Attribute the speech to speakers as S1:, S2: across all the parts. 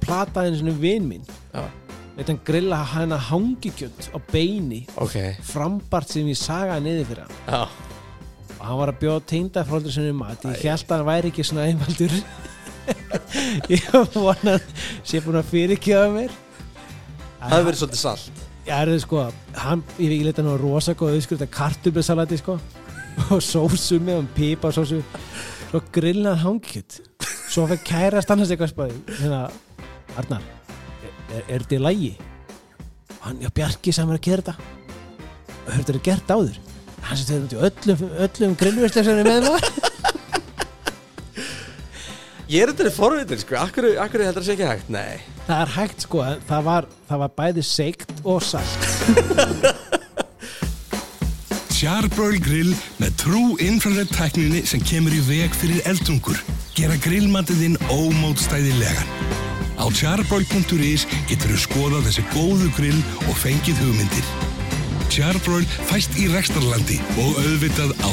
S1: plataði einu svona vin minn
S2: Já.
S1: Lét hann grilla hana hangikjött á beini
S2: ok
S1: frambart sem ég sagaði niður fyrir hann
S2: Já.
S1: og hann var að bjóða teindafróldur sinni um mat ég held að hann væri ekki svona einfaldur ég vona hann sé búin að fyrirkjöða mér En
S3: Það hefur verið svolítið salt
S1: Já, er þið sko, hann, ég veit ekki leita nú rosa góð auðskrifta kartublusalati sko og sósu með um pipa sósu svo grillað hangkjöt svo fyrir kærast annars eitthvað spáði hérna, Arnar er, er þetta í lægi? Hann, já, Bjarki sem er að gera þetta og hefur þetta gert áður hann sem þegar út í öllum, öllum grillverslega sem er með maður
S2: Ég er þetta forvitin sko, akkur, akkur heldur það sé ekki hægt Nei,
S1: það er hægt sko, en það var, það var bæði seikt og salt
S4: Charbroil grill með trú infrared tækninni sem kemur í veg fyrir eldungur. Gera grillmatiðinn ómótstæðilegan. Á charbroil.is getur þú skoðað þessi góðu grill og fengið hugmyndir. Charbroil fæst í rekstarlandi og auðvitað á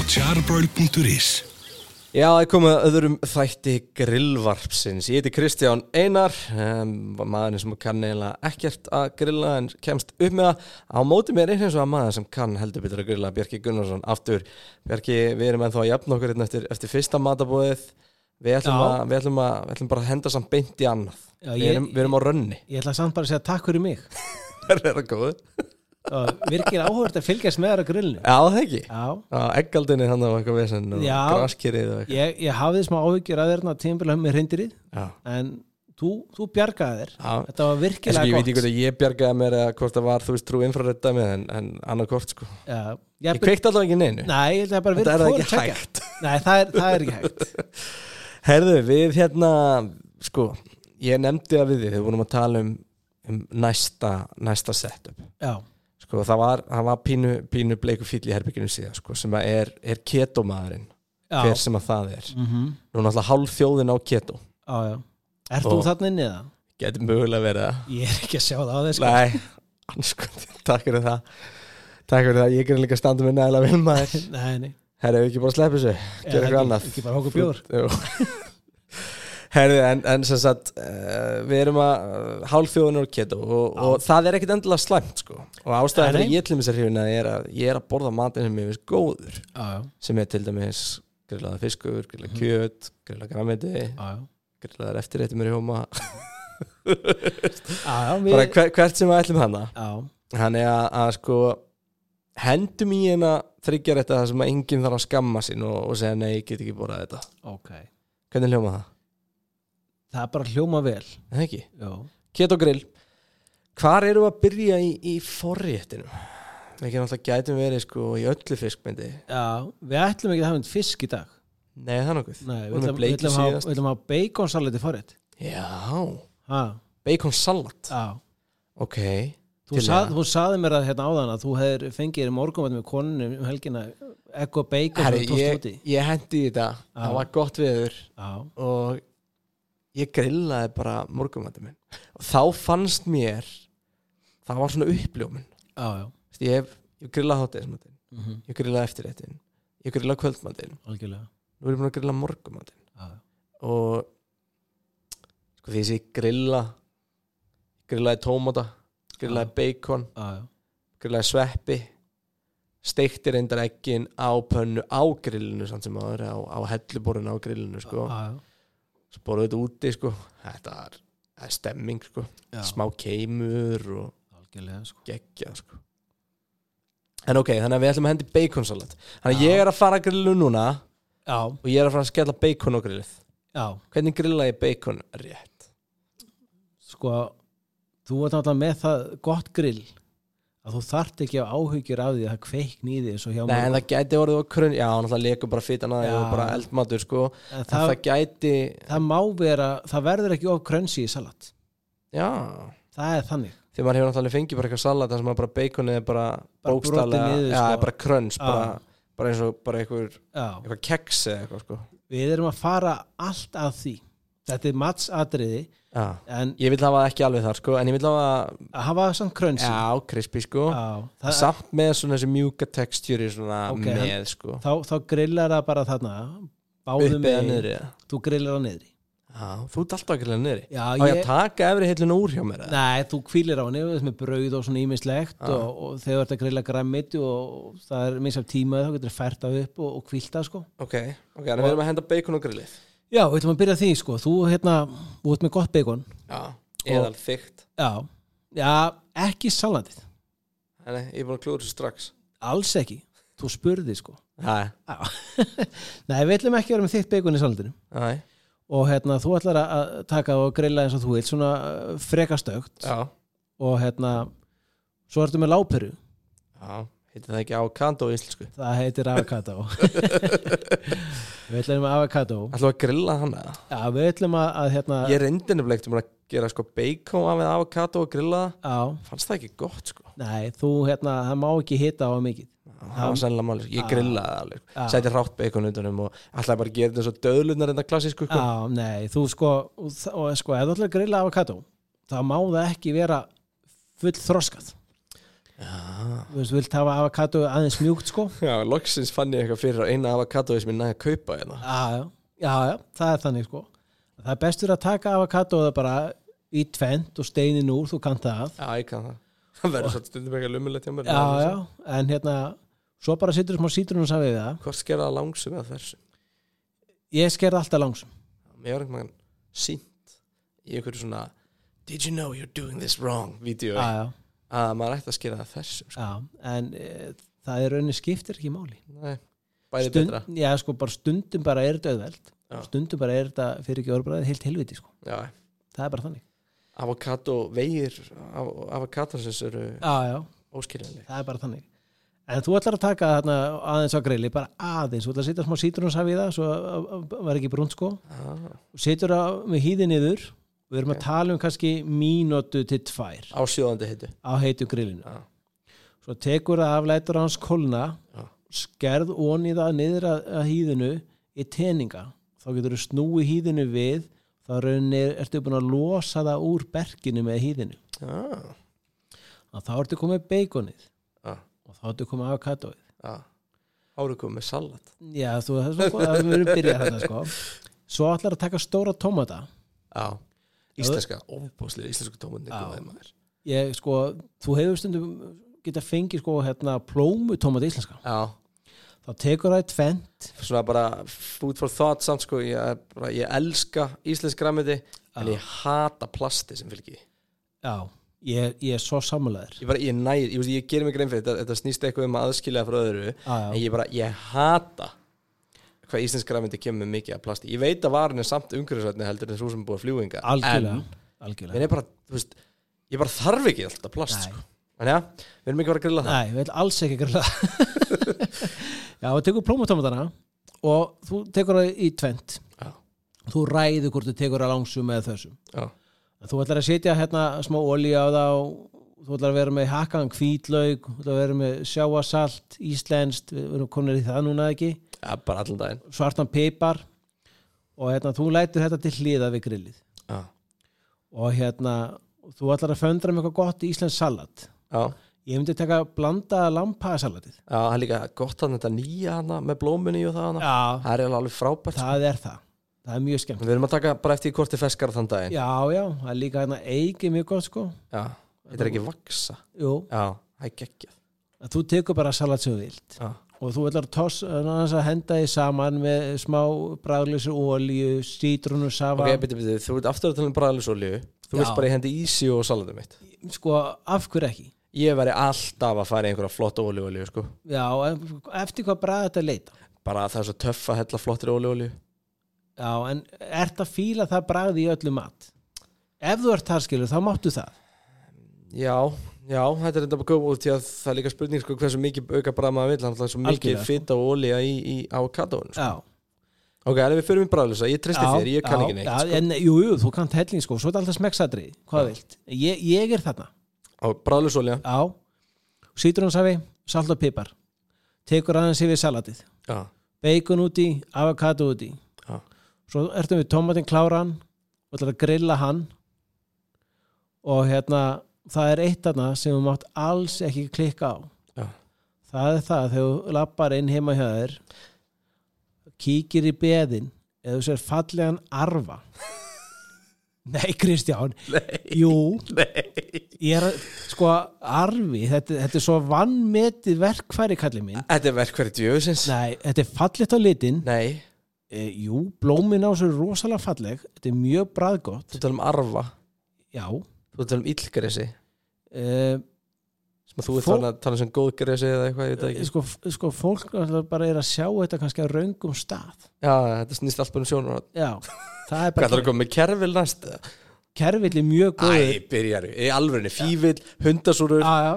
S4: charbroil.is.
S2: Já, það er komið að öðrum þætti grillvarpsins. Ég heiti Kristján Einar, um, maðurinn sem kann eiginlega ekkert að grilla en kemst upp með það. Á móti mér er eins og að maður sem kann heldur betur að grilla, Bjarki Gunnarsson, aftur. Bjarki, við erum ennþá að jafna okkur hérna eftir, eftir fyrsta matabóðið. Við ætlum,
S1: Já.
S2: að, við, ætlum að, við ætlum bara að henda samt beint í annað.
S1: Já,
S2: við,
S1: ég-
S2: erum, við erum á rönni.
S1: ég ætla samt bara að segja takk fyrir mig
S2: Það er það góð.
S1: og virkir áhugvert að fylgjast með þar á grillinu
S2: Já, það ekki.
S1: Já,
S2: Já, eggaldinni hann og eitthvað vesen og
S1: Já.
S2: graskirið og eitthvað.
S1: ég, ég hafði smá áhyggjur hérna að þérna tímbilum með reyndirið
S2: Já.
S1: en þú, þú bjargaði þér
S2: Já.
S1: þetta var
S2: Ég, sko, ég
S1: virkilega
S2: veit ekki
S1: gott
S2: hvort að ég bjargaði mér eða hvort það var, þú veist, trú infrarödd dæmið en, en annað hvort, sko.
S1: Já,
S2: Ég
S1: ég,
S2: kveikt allavega ekki neinu.
S1: nei, ég held að bara
S2: Þetta er það
S1: fór að
S2: ekki
S1: tjekka.
S2: hægt.
S1: nei, það er, það er ekki hægt
S2: Herðu, við hérna, sko, ég nefndi að við þið, við vorum að tala um, um næsta, næsta setup.
S1: Já,
S2: Sko, það var, það var pínu, pínu bleiku fýll í herbygginu síðan, sko, sem að er, er ketomaðurinn, hver
S1: já,
S2: sem að það er.
S1: mm
S2: Nú er náttúrulega hálf þjóðin á keto.
S1: já, já. Ert þú
S2: Og-
S1: þarna inni eða?
S2: Getur mögulega verið það.
S1: Ég er ekki að sjá það á þess sko.
S2: Nei, anskund, takk fyrir það. Takk fyrir það, ég er líka að standa með nægilega vel maður.
S1: Nei, nei,
S2: Herra, ef við ekki bara sleppum þessu,
S1: Eða
S2: gera
S1: ekki-
S2: eitthvað annað
S1: Ekki bara hóku bjór
S2: Jú. Herðu, en, en sem sagt uh, við erum að uh, hálfþjóðunur keto og, og það er ekkit endilega slæmt sko. og ástæðan
S1: Nei,
S2: fyrir
S1: nei.
S2: ég til mér sér hrifin er að ég er að borða matinn sem ég finnst góður
S1: Já, já,
S2: sem er til dæmis grillaða fiskur,
S1: Mhm.
S2: grillað kjöt grillað græmiti,
S1: já, já.
S2: grillaðar eftirréttum er í hóma
S1: já, já, við,
S2: bara hver, hvert sem við ætlum hana
S1: já,
S2: hann er að, að sko hendum í hérna þryggjar þetta það sem að enginn þarf að skamma sín og, og segja nei, ég get ekki borðað þetta
S1: ok
S2: hvernig hljóma það?
S1: Það er bara hljóma vel
S2: Er Það ekki?
S1: Já,
S2: Keto grill Hvar eru að byrja í, í forréttinum? Við getum alltaf gætum verið sko í öllu fiskmyndi
S1: já við ætlum ekki að hafa einn fisk í dag
S2: Nei, það er nokkuð
S1: Nei, við
S2: Hún er
S1: ætlum, við
S2: bleiki
S1: ætlum að
S2: síðast
S1: hafa- við ætlum að hafa baconsalati forrétt
S2: Já,
S1: Já,
S2: bacon salat
S1: já
S2: Ok,
S1: Þú,
S2: Til í
S1: sað,
S2: það.
S1: þú saði mér að hérna áðan að þú hefur fengið þér morgumat með konunni um helgina ekko bacon
S2: Herri,
S1: og tóst
S2: ég,
S1: úti
S2: ég hendi í þetta Það var gott viður
S1: Já,
S2: og ég grillaði bara morgumandi minn og þá fannst mér það var svona uppljómin
S1: já, já,
S2: Þú veist, Ég hef ég grillaði hátegismatinn
S1: mm
S2: Ég grillaði eftirréttin Ég grillaði kvöldmatinn
S1: algjörlega
S2: Nú er ég búin að grilla morgumandi
S1: já, já.
S2: og sko því sé grilla grillaði tómata grillaði bacon,
S1: Já, já.
S2: grillaði sveppi steikti reyndar ekkin á pönnu á grillinu samt sem aður á, á helluborun á grillinu sko,
S1: Já, já.
S2: svo borðu þetta úti sko, þetta er, það er stemming sko,
S1: Já.
S2: smá keimur og
S1: algjörlega sko.
S2: geggja sko en ok, þannig að við ætlum að hendi baconsalat þannig að ég er að fara að grillu núna
S1: Já,
S2: og ég er að fara að skella bacon á grillið
S1: já,
S2: hvernig grilla ég bacon rétt?
S1: sko þú ert náttúrulega með það gott grill að þú þart ekki að áhugjur af því að það kveikni í því eins og hjá
S2: Nei, en
S1: mér.
S2: það gæti orðið á krun Já, náttúrulega leku bara fitan að
S1: Já.
S2: það og bara eldmatur sko En
S1: En
S2: það,
S1: það,
S2: gæti
S1: það má vera það verður ekki of krönsi í salat
S2: Já
S1: það er þannig
S2: Þegar maður hefur náttúrulega fengið bara eitthvað salat þar sem maður bara beikonið er bara
S1: Bara
S2: bókstala
S1: brotið niður,
S2: Já,
S1: sko.
S2: bara kröns
S1: Já.
S2: bara, bara eins og bara eitthvað,
S1: já.
S2: eitthvað keks eða eitthvað sko
S1: við erum að fara allt að því þetta er matsatriði
S2: Já
S1: en
S2: Ég vil hafa það ekki alveg þar sko En ég vil hafa
S1: að hafa samt krönsi
S2: Já, crispy sko
S1: Já, það,
S2: Samt með svona þessi mjúka textúri svona
S1: Ok,
S2: með sko
S1: þá, þá grillar það bara þarna báðum
S2: Uppið
S1: með
S2: að niðri eða?
S1: þú grillar það niðri
S2: Já, þú ert alltaf að grilla neri
S1: Já,
S2: Á ég
S1: ég-
S2: að taka efri heilin úr hjá mér eða?
S1: Nei, þú kvílir á henni þú veist, með brauð og svona ímislegt og, og þegar þú ert að grilla græmmit og það er minnst af tímaði þá getur það fært það upp og, og kvílt það sko
S2: Ok, ok, en við erum að henda bacon og grillið
S1: Já, við ætlum að byrja á því sko þú hérna, þú ert með gott bacon
S2: Já, eðal þygt
S1: Já, já, ekki salatið
S2: Nei, ég er búin að klúra þessu strax
S1: alls ekki, þú spurði sko
S2: Nei,
S1: Já. Nei, við ætlum ekki að vera með þitt bacon í salatinu
S2: nei,
S1: og hérna, þú ætlar að- að taka og grilla eins og þú vilt, svona uh, frekastögt
S2: já
S1: og hérna svo ertu með láperu,
S2: Já, heitir það ekki avocado í íslensku
S1: það heitir avocado Við ætlum með avocado
S2: Ætlum við að grilla hann eða?
S1: Já, við ætlum að, að hérna
S2: Ég reyndi nefnilegt um að gera sko bacon af með avocado og grilla það
S1: Já,
S2: Fannst það ekki gott sko
S1: nei, þú hérna, það má ekki hita á mikið
S2: Það var sennilega máli,
S1: Ah.
S2: sko. ég grillaði það alveg sko.
S1: Já.
S2: Sætti rátt bacon utanum og alltaf bara að gera þetta svo döðlunar en það klassísku sko.
S1: Já, nei, þú sko og, þa- og sko, ef þú ætlar að grilla avokado þá má það ekki vera full þroskað Já Þú veist, þú vilt hafa avokado aðeins mjúkt sko Já,
S2: Já, loksins fann ég eitthvað fyrir á eina avokado sem ég næði að kaupa hérna
S1: já, já, já, það er þannig sko Það er bestur að taka avokado bara í tvent og steinin úr, þú kannt það
S2: Já, ég kann það Það verður svo stundum eitthvað lumulegt hjá mér
S1: Já, já, en hérna svo bara sittur smá sítrunum sá við það
S2: Hvort skerða það langsum eða þessu?
S1: Ég skerði alltaf langsum
S2: Mér var einhvern veginn sínt í einhverju svona Did you know you're doing this wrong? Vídeó
S1: Já, já,
S2: að maður ætti að skera það þessu sko.
S1: já, en e, það er raunin skiptir ekki máli
S2: Nei, bæði
S1: Stund,
S2: betra
S1: já, sko, bara stundum bara er þetta auðveld
S2: Já.
S1: stundum bara er þetta fyrir ekki orðbræðið heilt helviti, sko,
S2: Já,
S1: það er bara þannig
S2: avokado vegir avokadosins eru
S1: já, já,
S2: óskiljanleg
S1: það er bara þannig en þú ætlar að taka þarna aðeins á grilli bara aðeins, þú ætlar að setja smá sítrunsa við það svo að- að- að var ekki brúnt, sko
S2: ah.
S1: og setur það með hýði niður við erum að tala um kannski mínútu til tvær
S2: á sjóðandi heitu
S1: á heitu grillinu
S2: Já.
S1: svo tekur það af, lætur hans kólna
S2: Já.
S1: skerð onni það niður að, að hýðinu í teninga þá getur þú snúi hýðinu við þá raunir, ertu búin að losa það úr berginu með hýðinu
S2: ah.
S1: og þá ertu komið beikonið
S2: ah.
S1: og þá ertu komið avokadóið
S2: ah. Árukum með salat
S1: já, þú, það er svo góð, það verður byrjað þetta sko svo ætlar að taka stóra tómata
S2: ah. Íslenska, óbúslega íslensku tómunni
S1: Já.
S2: góði maður
S1: ég sko, þú hefur stundum geta fengið sko hérna plómu tómata íslenska
S2: Já,
S1: þá tekur það í tvent
S2: svona bara food for thought samt sko, ég, er bara, ég elska íslensk græmiti en ég hata plasti sem fylgji
S1: já, ég, ég er svo sammálaður
S2: ég bara, ég næ, ég, ég gerir mig grein fyrir þetta, þetta snýst eitthvað um að aðskilja frá öðru
S1: já.
S2: en ég bara, ég hata hvað íslensk græmyndi kemur með mikið af plasti ég veit að varin er samt umhverfisvætni heldur en svo sem er búið að fljúinga
S1: algjörlega,
S2: en,
S1: algjörlega.
S2: en ég bara, þú veist, ég bara þarf ekki alltaf plast
S1: Nei.
S2: sko. en já, við erum ekki að fara að grilla það
S1: Nei, við ætlum alls ekki að grilla Já, þú tekur plómutómatana og þú tekur það í tvent
S2: já,
S1: þú ræður hvort þú tekur það langsum með þessum
S2: já,
S1: þú ætlar að setja hérna smá olíu á það og þú ætlar að vera með hakkan hvítlaug þú ætlar að vera með sjáasalt íslenskt, við erum komin í það núna ekki
S2: já bara allan daginn
S1: svartan pipar og hérna, þú lætur þetta til hliða við grillið
S2: já,
S1: og hérna, þú ætlar að föndra með eitthvað gott íslensk salat
S2: já,
S1: ég myndi taka blanda lampaðasalatið
S2: já það er líka gott að þetta nýja hana með blóminni og það hana
S1: Já,
S2: það er alveg frábært sko.
S1: það er það það er mjög skemmt
S2: við erum að taka bara eftir í korti feskar þann daginn já,
S1: já, já, það er líka hérna eigi mjög gott sko
S2: þetta er ekki vaksa
S1: Jú,
S2: já, það er geggjað
S1: að þú tekur bara salat sem þú vilt
S2: já,
S1: og þú ætlar að toss annars að henda því saman með smá bræðlösi ólíu, sítrunu, safa
S2: ok, byrju, byrju, þú ert aftur að tala um bræðlisolju þú vilt
S1: Já.
S2: bara í hendi ísi og salatum mitt
S1: sko, af hverju ekki
S2: ég væri alltaf að fara í einhverja flotta olíolíu sko.
S1: já, en eftir hvað bræða þetta leita
S2: bara að það er svo töff að hella flottir olíolíu
S1: já, en ert að fíla það bræði í öllu mat ef þú ert þar skilur, þá máttu það
S2: já, já, þetta er enda bara góð út í að það er líka spurning sko, hversu mikið auka bara maður vill, hann er svo mikið
S1: Algjörlega, sko.
S2: fitta og olíja í, í avokadóinu sko.
S1: já,
S2: ok, en ef við förum í bræðlisa, ég treysti
S1: já,
S2: þér, ég kann
S1: já,
S2: ekki neitt
S1: já,
S2: sko.
S1: en, jú, jú, þú kannt helling sko, svo er þetta alltaf smekksadri hvað þú vilt, ég, ég er þarna
S2: og bræðlisolja
S1: á sítrónsafi, salt og pipar tekur aðeins yfir salatið
S2: já,
S1: bacon úti, avokado úti
S2: já,
S1: svo ertum við tomatinn kláran og ætlar að grilla hann og hérna það er eitt aðna sem þú mátt alls ekki klikka á
S2: já.
S1: það er það þegar þú lappar inn heima hjá þér kíkir í beðin eða þú sér fallegan arfa Nei, Kristján Jú, ég er að, sko, arfi þetta, þetta er svo vannmetið verkfæri kallið minn
S2: Þetta er verkverði djöfusins
S1: Nei, þetta er fallit á litin
S2: Nei,
S1: e, Jú, blómin á þessu er rosalega falleg Þetta er mjög bræðgott
S2: þú tala um arfa
S1: Já
S2: Þú tala um illgresi
S1: e,
S2: sem að þú ert
S1: Fó-
S2: þannig að tala um góðgresi eða eitthvað, ég veit það ekki
S1: sko, f- sko, fólk náttúrulega bara er að sjá þetta kannski á raungum stað
S2: Já, þetta snýst allt bara um sjónur
S1: Já, það er
S2: Hvað
S1: bara
S2: ætlar að koma með kerfil næst?
S1: Kerfill er mjög góður
S2: Æ, byrjar í alvörinni, fívill, hundasúrur
S1: Já, já.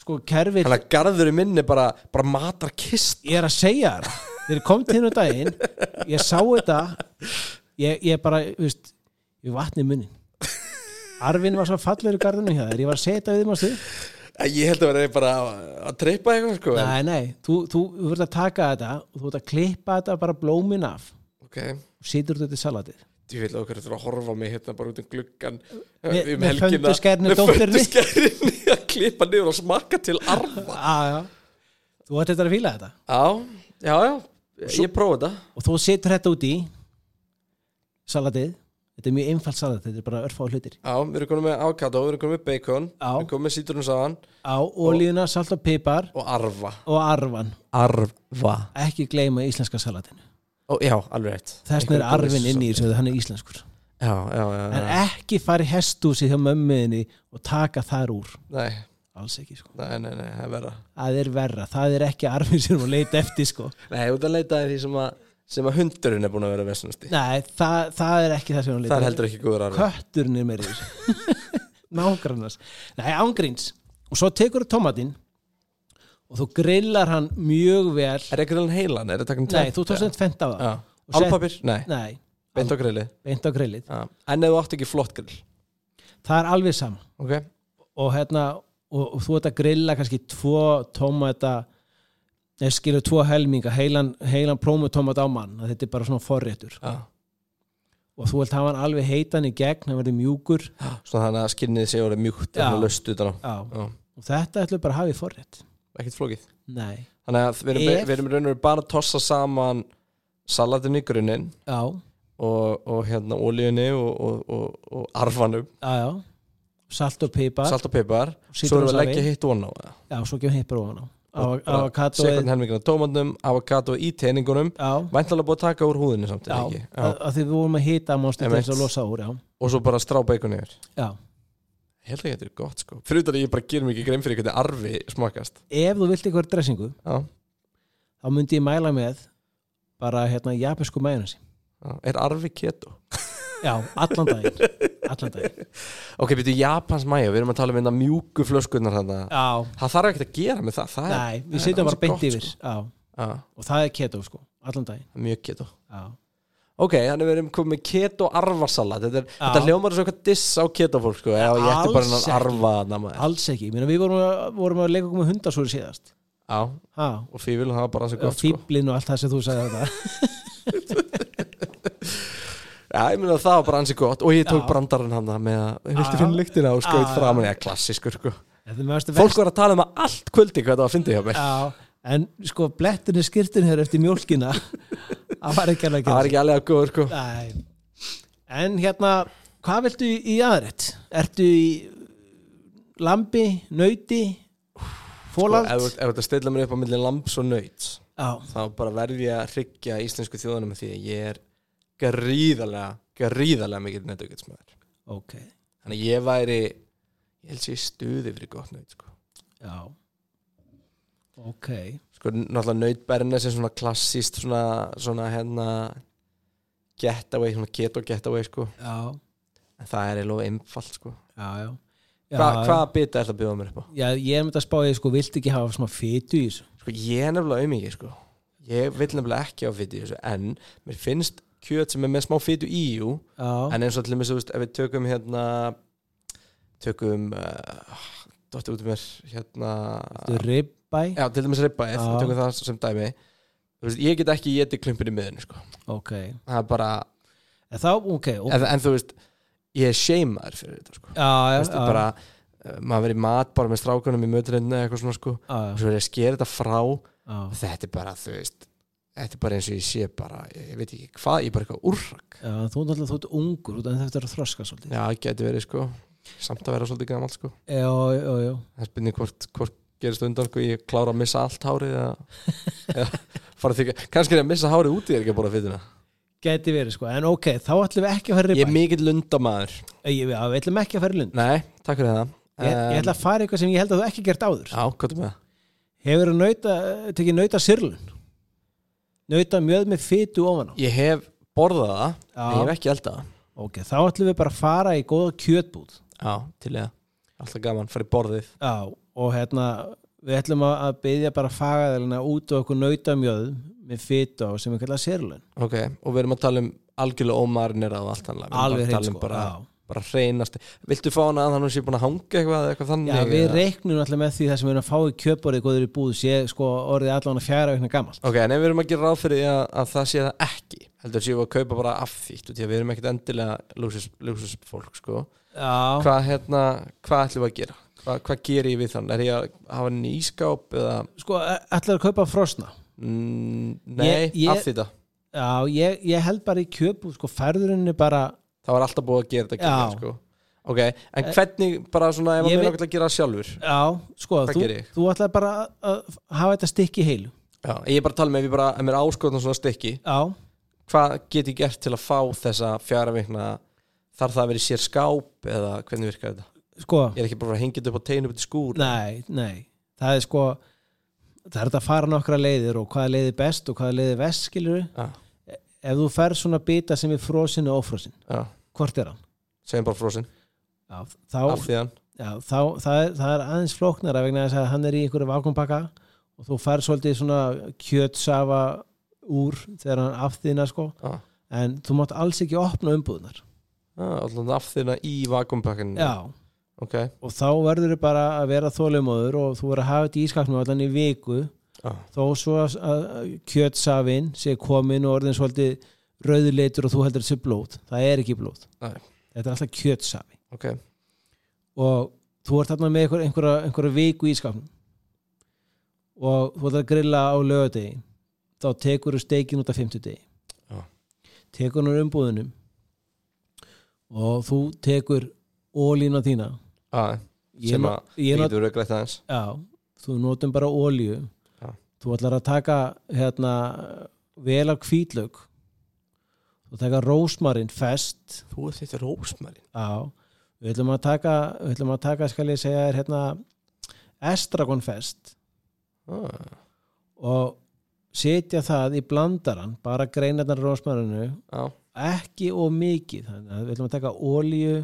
S1: Sko, kerfill
S2: Þannig að garðurinn minn er bara, bara matar kist
S1: ég er að segja þér þegar ég kom til hérna um daginn ég sá þetta ég, ég bara, þú veist, ég vatni munnin Arvin var svo fallegur í garðinu hjá þér, ég var að segja þetta við mástu
S2: Ég held að vera bara að treypa eitthvað sko en-
S1: Nei, nei, þú, þú, þú verður að taka þetta og þú verður að klippa þetta bara blómin af
S2: Ok,
S1: og situr þetta í salatið
S2: ég vil okkur þetta að horfa á mig hérna bara út um gluggan
S1: Með-
S2: um
S1: með
S2: helgina.
S1: föndusskærinu
S2: Með
S1: dótturinni.
S2: föndusskærinu að klippa niður og smakka til arfa
S1: ah, já. Þú ert þetta að fíla þetta
S2: Já, já, já, ég prófa þetta
S1: og þú situr þetta út í salatið þetta er mjög einfalt salatið, þetta er bara örfá hlutir
S2: Já, við erum komin með avocado, við erum komin með bacon
S1: Já.
S2: Við erum komin með sítrunsaðan
S1: á olíuna, salt og pipar
S2: og arfa
S1: og arvan,
S2: Arfa
S1: ekki gleyma íslenska salatinu
S2: Ó, Já, alveg rétt
S1: þess vegna er arfin inn í þessu hann er íslenskur
S2: Já, já, já,
S1: en
S2: já.
S1: ekki fara í hestúsi hjá mömmuðinni og taka þar úr
S2: Nei,
S1: alls ekki sko
S2: nei, nei, nei, það er verða
S1: það er verra, það er ekki arfin sem hún leita eftir sko
S2: Nei, út að leita að því sem að, sem að hundurinn er búin að vera vesnasti
S1: nei, það, það er ekki það sem hún
S2: Það
S1: leita
S2: er heldur ekki góður arfi
S1: kötturinn er meira í þessu nágrannars, nei ángríns og svo tekur þú tomatinn og þú grillar hann mjög vel
S2: Er ekki alveg heilan, er það takum
S1: nei, þú tókst þetta fent af það
S2: Já,
S1: Og sett-
S2: álpapir, nei,
S1: nei,
S2: beint á grillið
S1: beint á grillið
S2: Já. En ef þú átt ekki flott grill
S1: það er alveg saman
S2: Ok,
S1: og hérna og, og þú ert að grilla kannski tvo tómata eða skilur tvo helminga heilan, heilan prómutómata á mann að þetta er bara svona forréttur
S2: já
S1: og þú ert að hafa hann alveg heitan í gegn hann verði mjúkur
S2: Svona þannig að skinnið sé orðið mjúkt
S1: Já.
S2: og löst utan á
S1: á.
S2: Já.
S1: og þetta ætlum við bara að hafa í forrétt
S2: Ekkert flókið
S1: nei,
S2: Þannig að við erum,
S1: Ef-
S2: við erum í raun og veru bara að tossa saman salatinu í grunninn
S1: já,
S2: og, og hérna olíunni og, og, og, og arfanum,
S1: já, já salt og pipar
S2: salt og pipar svo erum við að
S1: sítrónusafi.
S2: leggja hitt von á það
S1: já, svo gefum heipar ofan á Ava-
S2: Bara sekund
S1: avokadóið,
S2: helmingin af tómatnum, avokado í teiningunum
S1: já,
S2: væntalega búið að taka úr húðinni samt
S1: já
S2: eða
S1: að
S2: ekki já.
S1: að því við vorum að hita mánstu til
S2: Einmitt.
S1: þess að losa úr, já,
S2: og svo bara strá bacon yfir
S1: já
S2: ég held að þetta er gott sko, fyrir utan að ég bara gerum ekki grein fyrir hvernig arfi smakast
S1: ef þú vilt eitthvað dressingu
S2: já.
S1: þá myndi ég mæla með bara hérna japansku mæjunasi
S2: Já. er arfi keto
S1: já, allan daginn allan daginn
S2: ok, byrju Japans mayo, við erum að tala um þetta mjúku flöskunar þannig að
S1: já,
S2: það þarf ekkert að gera með það, það
S1: nei,
S2: það
S1: við sitjum
S2: ansi
S1: bara beint
S2: gott,
S1: yfir
S2: sko.
S1: já,
S2: Já,
S1: og það er keto sko, allan daginn
S2: það er mjög keto
S1: já,
S2: Ok, þannig við erum komið með keto arfarsalat Þetta, er, þetta hljómar svo eitthvað diss á keto fólk sko. Já, ég ætti
S1: Alls
S2: bara hennan
S1: ekki.
S2: arfa þarna, maður.
S1: alls ekki, Ég meina, við vorum að, vorum að leika okkur með hundasúri síðast
S2: Já,
S1: já,
S2: og fífil, það var bara svo gott sko.
S1: fýblin og allt það sem þú sagði þetta
S2: Já, ég meina það var bara ansi gott Og ég tók
S1: Já.
S2: brandarinn hann með að Ég vilti
S1: Já.
S2: finna lyktina og skoðið
S1: Já,
S2: framan Já, klassískur sko.
S1: þetta er mjög verst
S2: Fólk var að tala um að allt kvöldi hvað það var að fyndi hjá mér
S1: já, en sko blettinni skirtin hér eftir mjólkina það var ekki alveg
S2: Það var
S1: að
S2: ekki alveg að góður sko.
S1: gera Nei. en hérna hvað viltu í aðrætt? ertu í lambi, nauti
S2: Og
S1: fólald?
S2: Sko, Ef ef þetta stilla mér upp á milli lambs og nöyt
S1: Já,
S2: Þá bara verð ég að hryggja íslensku þjóðanum Því að ég er gríðarlega, gríðarlega mikill nettaukitsmaður
S1: ok
S2: Þannig að ég væri Ég held sér stuði fyrir gott nöyt sko.
S1: Já Ok
S2: sko, náttúrulega nautbernes er svona klassíst svona, svona hérna getaway, svona keto getaway sko.
S1: Já,
S2: en það er eiginlega einfalt sko.
S1: já, já Já,
S2: Hva, hvaða bita er það að bjóða mér upp á?
S1: já, ég er með að spá því sko, vilt ekki hafa svona fytu í þessu
S2: Sko, ég er nefnilega auðmikið sko. ég vil nefnilega ekki á fytu í þessu en mér finnst kjöt sem er með smá fytu í jú,
S1: Já,
S2: en eins og til þess að ef við tökum hérna tökum uh, dottir út um mér hérna
S1: þetta er ribbæ
S2: já, til dæmis ribbaðið,
S1: Já.
S2: tökum það sem dæmi Þú veist, ég get ekki geti klumpin í miðinu sko.
S1: Ok,
S2: það er bara
S1: en þá, ok og,
S2: en, en þú veist, ég er seimaður fyrir þetta sko.
S1: Já, já,
S2: þú
S1: já,
S2: veist, ég bara eh, maður verið mat bara með strákunum í möturinn eða eitthvað svona sko
S1: já,
S2: og svo er ég að skera þetta frá
S1: já,
S2: þetta er bara, þú veist þetta er bara eins og ég sé bara ég veit ekki hvað, ég er bara eitthvað úrrak
S1: Já, þú ert alltaf, þú ert ungur út en þetta er að þroska svolítið.
S2: já, geti verið sko samt að vera svolítið gamalt sko
S1: Já, já, já.
S2: það er spynning hvort, hvort gerist á undan sko, ég klára að missa allt hárið eða, eða fara að þykja kannski er ég að missa hárið úti er ekki að bóra fytuna
S1: Gæti verið sko, en ok, þá ætlum við ekki að fara í
S2: ég er
S1: ribba.
S2: mikill lundamaður
S1: Ég, já, við ætlum ekki að fara í lund.
S2: nei, takk fyrir það
S1: Ég, ég ætla
S2: Em,
S1: að fara í eitthvað sem ég held að þú ekki gert áður.
S2: já, hvað er með það?
S1: Hefur þú nauta, tekið nauta sirlun? Nauta mjög með fytu ofan á.
S2: ég hef borðað það,
S1: Já.
S2: en ég hef ekki eldað það.
S1: Ok, þá ætlum við bara að fara í góða kjötbúð.
S2: já, til ég alltaf gaman, farið borðið
S1: Já, og hérna við ætlum að, að byggja bara fagaðalina út og okkur nautamjöð með fytu á sem við kalla sérlun
S2: ok, og við erum að tala um algjörlega ómarinir og allt annað, við
S1: Alveg hreint
S2: erum bara að tala um
S1: sko,
S2: bara,
S1: já.
S2: bara hreinast viltu fá hana að hann sé búin að hanga eitthvað, eða eitthvað
S1: Já,
S2: þannig
S1: við
S2: eða?
S1: reiknum alltaf með því það sem við erum að fá í kjöporið góður í búð sé sko orðið allan að fjara veikna gamalt
S2: Ok, en ef við erum að gera ráð fyrir því að, að það sé það ekki heldur séu að kaupa bara af því út af því að við erum ekkert endilega lúsus, lúsus fólk sko.
S1: Já,
S2: hvað hérna, hvað ætlum við að gera Hva, hvað ger ég við þann, er ég að hafa hann í ískáp eða,
S1: sko allar að kaupa frosna
S2: mm, nei,
S1: Ég- ég-
S2: af því það
S1: Já, ég, ég held bara í kjöpbúð sko færðurinni bara
S2: það var alltaf búið að gera þetta
S1: Já. Eh,
S2: ekki, sko. ok, en hvernig bara svona ef
S1: Ég
S2: að mér
S1: veit-
S2: langar til að gera það sjálfur
S1: Já, sko,
S2: Hvað
S1: þú,
S2: geri ég?
S1: þú ætlar bara að, að hafa þetta stikki heilu
S2: Já, ég er bara að tala með ef ég bara, ef mér er áskotna svona stykki
S1: Já,
S2: hvað get ég gert til að fá þessa fjara vikna þarf það að vera í sér skáp eða hvernig virkar þetta
S1: sko
S2: ég er ekki bara að hengja þetta upp á teginu upp í skúr
S1: Nei, nei, það er sko það er þetta að fara nokkra leiðir og hvaða leiði best og hvaða leiði vest skilur
S2: Já.
S1: ef þú ferð svona bita sem er frosin og ófrosin,
S2: Já.
S1: hvort er hann?
S2: segjum bara frosin,
S1: Já, þá,
S2: af því hann
S1: já, þá það, er, það er aðeins flóknara vegna þess að hann er í einhverju vakumpakka og þú ferð svolítið svona kjötsafa úr þegar hann afþýna sko
S2: Já.
S1: en þú mátt alls ekki opna umbúðnar
S2: Ah, allan af þýna í vakumpakkan
S1: Já,
S2: ok,
S1: og þá verður þau bara að vera þólumóður og þú verður að hafa þetta í skaknum allan í viku
S2: Já.
S1: þó svo að að kjötsafinn sé komin og orðin svolítið rauðleitur og þú heldur þessi blóð það er ekki blóð
S2: Nei.
S1: þetta er alltaf kjötsafi
S2: ok
S1: og þú ert þarna með einhver, einhverja, einhverja viku í skapnum og þú ert að grilla á lögadegi þá tekur þú steikin út af 50 degi
S2: Já.
S1: tekur hann úr umbúðunum og þú tekur ólína þína
S2: ah,
S1: Ég
S2: sem
S1: no-
S2: að
S1: ég
S2: við
S1: not-
S2: getum röggrætt aðeins
S1: Já, þú notum bara ólíu
S2: Já.
S1: Þú ætlar að taka hérna, vel af hvítlaug Þú taka rósmarinn fest
S2: þú er þetta rósmærin
S1: Já, við ætlum að taka við ætlum að taka, skal ég segja þér hérna, estragon fest
S2: ah,
S1: og setja það í blandaran bara greinarnar rósmarinu
S2: já,
S1: ekki of mikið þannig að við ætlum að taka ólíu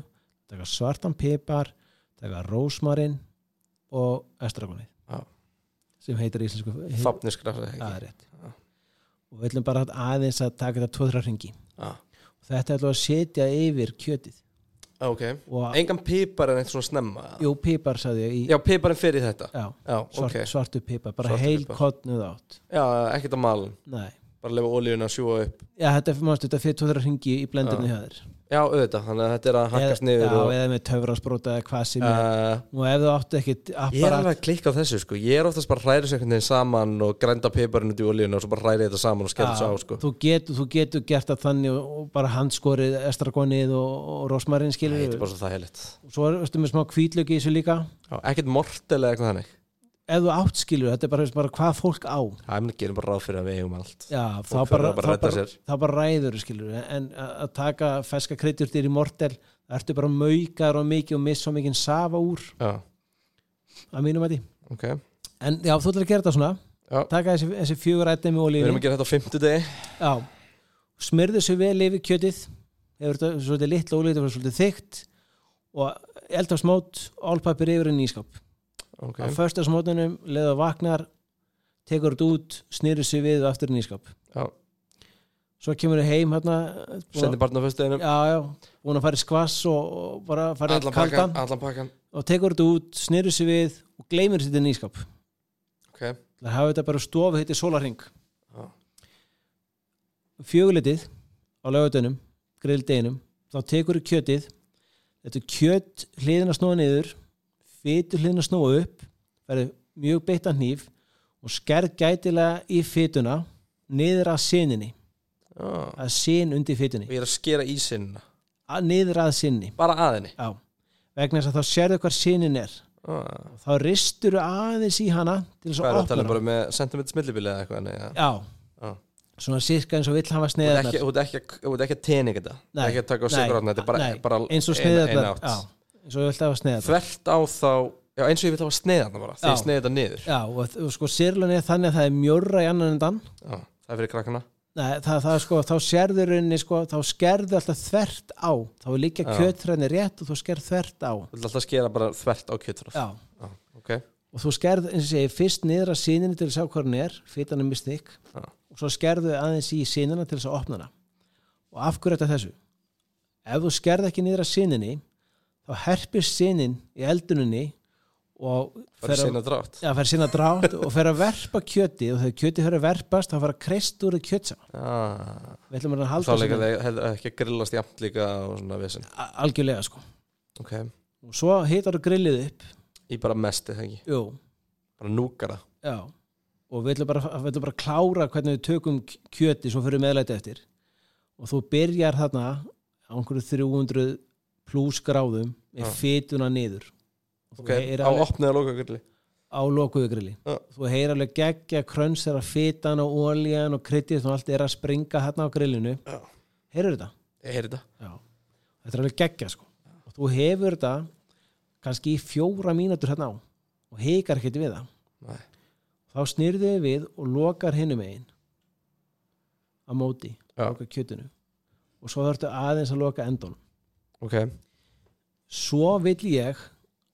S1: taka svartan pipar taka rósmarinn og estragonið
S2: Já.
S1: sem heitir í íslensku
S2: fapniskræft ekki
S1: það er rétt
S2: Já.
S1: og við ætlum bara aðeins að taka þetta tvo-þrjá hringi
S2: ah,
S1: þetta ætlum við að setja yfir kjötið
S2: ok,
S1: og
S2: engan pipar en eitt svona snemma eða?
S1: jú, pipar sagði ég í,
S2: já, piparinn fyrir þetta
S1: já,
S2: já,
S1: svart,
S2: ok,
S1: svartu pipar bara
S2: Svartur
S1: heil
S2: pipar.
S1: kottnuð átt
S2: já, ekkert að malin
S1: Nei.
S2: bara lefa olíuna að sjúa upp
S1: já, þetta er fyrir mannstu, þetta er fyrir tvo-þrjá hringi í blendinu hjá þér
S2: já, auðvitað, þannig að þetta er að hakkast
S1: Eða-
S2: niður
S1: já,
S2: og,
S1: eða með töfrasbróta eða hvað sem er
S2: uh,
S1: og ef þú áttu ekkit
S2: ég er alveg
S1: apparat
S2: að klikka á þessu sko ég er oftast bara að hræri sér einhvern veginn saman og grænda piparinn út í olíuna og svo bara hræri þetta saman og skella
S1: Já,
S2: þessu á sko
S1: þú, getur, þú getur gert það þannig og, og bara handskorið estragonið og, og rosmarinn
S2: Æ,
S1: skilur
S2: þetta er bara svo það heiligt
S1: svo er- ertu með smá kvítlöki í þessu líka
S2: ekkert mortel eða eitthvað þannig
S1: ef þú átt skilur, þetta er bara, bara hvað fólk á
S2: Það er mér að gera bara ráð fyrir að við eigum allt
S1: Já, þá
S2: Fólk
S1: bara,
S2: verður að bara
S1: þá,
S2: redda
S1: bara,
S2: sér.
S1: þá bara ræður skilur, en að að taka feska kryddjurtir í mortel, ertu bara maukar og mikið og miss svo mikið safa úr
S2: Já,
S1: að mínum að því,
S2: ok Við
S1: en já, þú ætlar að gera þetta svona
S2: Já.
S1: taka þessi, þessi fjögur ætti með
S2: erum
S1: olíu
S2: að gera þetta á fimmtudegi
S1: já, smyrðu svo vel yfir kjötið hefur þetta svolítið litla olíu, þetta var svolítið þykkt og elda smót allpapir yfir en ískap
S2: Ok,
S1: á föstasmótunum, leða vaknar tekur þetta út, snýrur sig við og aftur inn í skap
S2: já,
S1: svo kemur þau heim hérna
S2: sendi barn á föstudeginum
S1: já, já, búin að fara í skvass og, og bara fara í
S2: Allan pakkan,
S1: kaldan
S2: allan pakkan
S1: og tekur þetta út, snýrur sig við og gleymir sér inn í skap
S2: Ok,
S1: það hafa þetta bara stofu hitti sólarring
S2: Já.
S1: fjögulitið á laugatunum grilldeginum, þá tekur þau kjötið þetta er kjöt hliðin að snúa niður fytu hliðin að snúa upp verður mjög beittan hníf og skerð gætilega í fytuna niður að sininni
S2: Já.
S1: að sin undir fytunni
S2: og ég er að skera í sinna
S1: að niður að sinni
S2: bara að henni
S1: já. vegna þess að þá sérðu hvað sinin er
S2: Ah.
S1: þá ristur aðeins í hana til þess
S2: hvað
S1: að
S2: er að
S1: opna
S2: tala um
S1: hana
S2: bara með sentimeter millibili eða eitthvað nei, já.
S1: já,
S2: Já.
S1: svona sirka eins og vill hafa
S2: Þú ert
S1: sneiðarnar
S2: ekki- þú ert ekki að- þú ert ekki að teininga þetta Þú ert
S1: Nei,
S2: ekki að taka á
S1: nei,
S2: sigurátna þetta er bara,
S1: nei,
S2: bara
S1: eins og
S2: eina- eina
S1: sneiðarnar
S2: átt.
S1: já, eins og vill hafa sneiðarnar
S2: þvert á þá já, eins og ég vil hafa sneiðarna bara þegar
S1: Já.
S2: ég sneiði þetta niður
S1: já, og, og sko sirlun er þannig að það er mjörra í annan endan
S2: já, það er fyrir krakkana
S1: Nei, það, það er sko, þá sérðu rauninni sko, þá skerðu alltaf þvert á þá er líka
S2: Já.
S1: kjötræðinni rétt og þú skerð þvert á
S2: þú vil alltaf skera bara þvert á kjötráð
S1: já,
S2: Já, ok
S1: og þú skerð, eins og ég segi, fyrst niður að síninni til að sjá hvað hann er, fytan er mistykk
S2: Já.
S1: og svo skerðu aðeins í sínina til þess að opna hana og af hverju þetta þessu? Ef þú skerð ekki niður að síninni þá herpist sínin í elduninni og
S2: bara
S1: fer að-
S2: sinna drátt
S1: Já, fer sína drátt og fer að verpa kjöti og þegar kjöti fer að verpast þá fer að kreist úr kjötsa
S2: ah,
S1: við ætlum að reyna að
S2: þá
S1: halda
S2: líka
S1: þessu-
S2: þeir hefur ekki að grillast jafnt líka og svona vesen
S1: A- algjörlega sko
S2: ok
S1: og svo hitar þú grillið upp
S2: ég bara mesti það ekki
S1: Jú.
S2: bara núkara
S1: já og við ætlum bara, við ætlum bara að klára hvernig við tökum k- kjöti svo fyrir meðlæti eftir og þú byrjar þarna á einhverju 300 pluss gráðum með
S2: Já.
S1: fytuna niður Og þú
S2: ok
S1: heyrir
S2: á
S1: alveg-
S2: opnið að loka grilli
S1: á lokuðu grilli
S2: Já.
S1: þú heyrir alveg geggja kröns þegar fytan og olían og kryddið og allt er að springa þarna á grillinu
S2: Já.
S1: heyrir þetta?
S2: ég heyri þetta
S1: Já. Þetta er alveg geggja sko. Og þú hefur þetta kannski í fjóra mínútur hérna á og heikar ekkert við það.
S2: Nei.
S1: Þá snýrðu þið við og lokar hinum megin á móti,
S2: Já.
S1: lokar kjötinu. Og svo þarftu aðeins að loka endun.
S2: ok
S1: Svo vill ég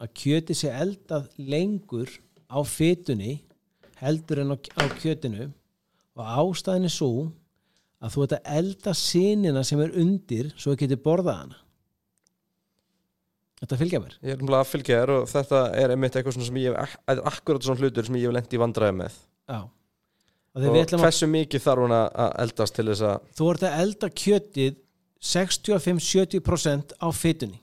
S1: að kjöti sé eldað lengur á fytunni heldur en á, á kjötinu og ástæðin er svo að þú ert að elda sinina sem er undir svo þú getur borðað hana. Þetta fylgja mér.
S2: ég er umlega að fylgja þér og þetta er einmitt eitthvað svona sem ég hef þetta er akkurat svona hlutur sem ég hef lendi í vandræði með
S1: Já. Og þegar við
S2: og
S1: ætlum að,
S2: hversu mikið þarf hún að að eldast til þess að
S1: þú ert að elda kjötið 65-70% á fytunni.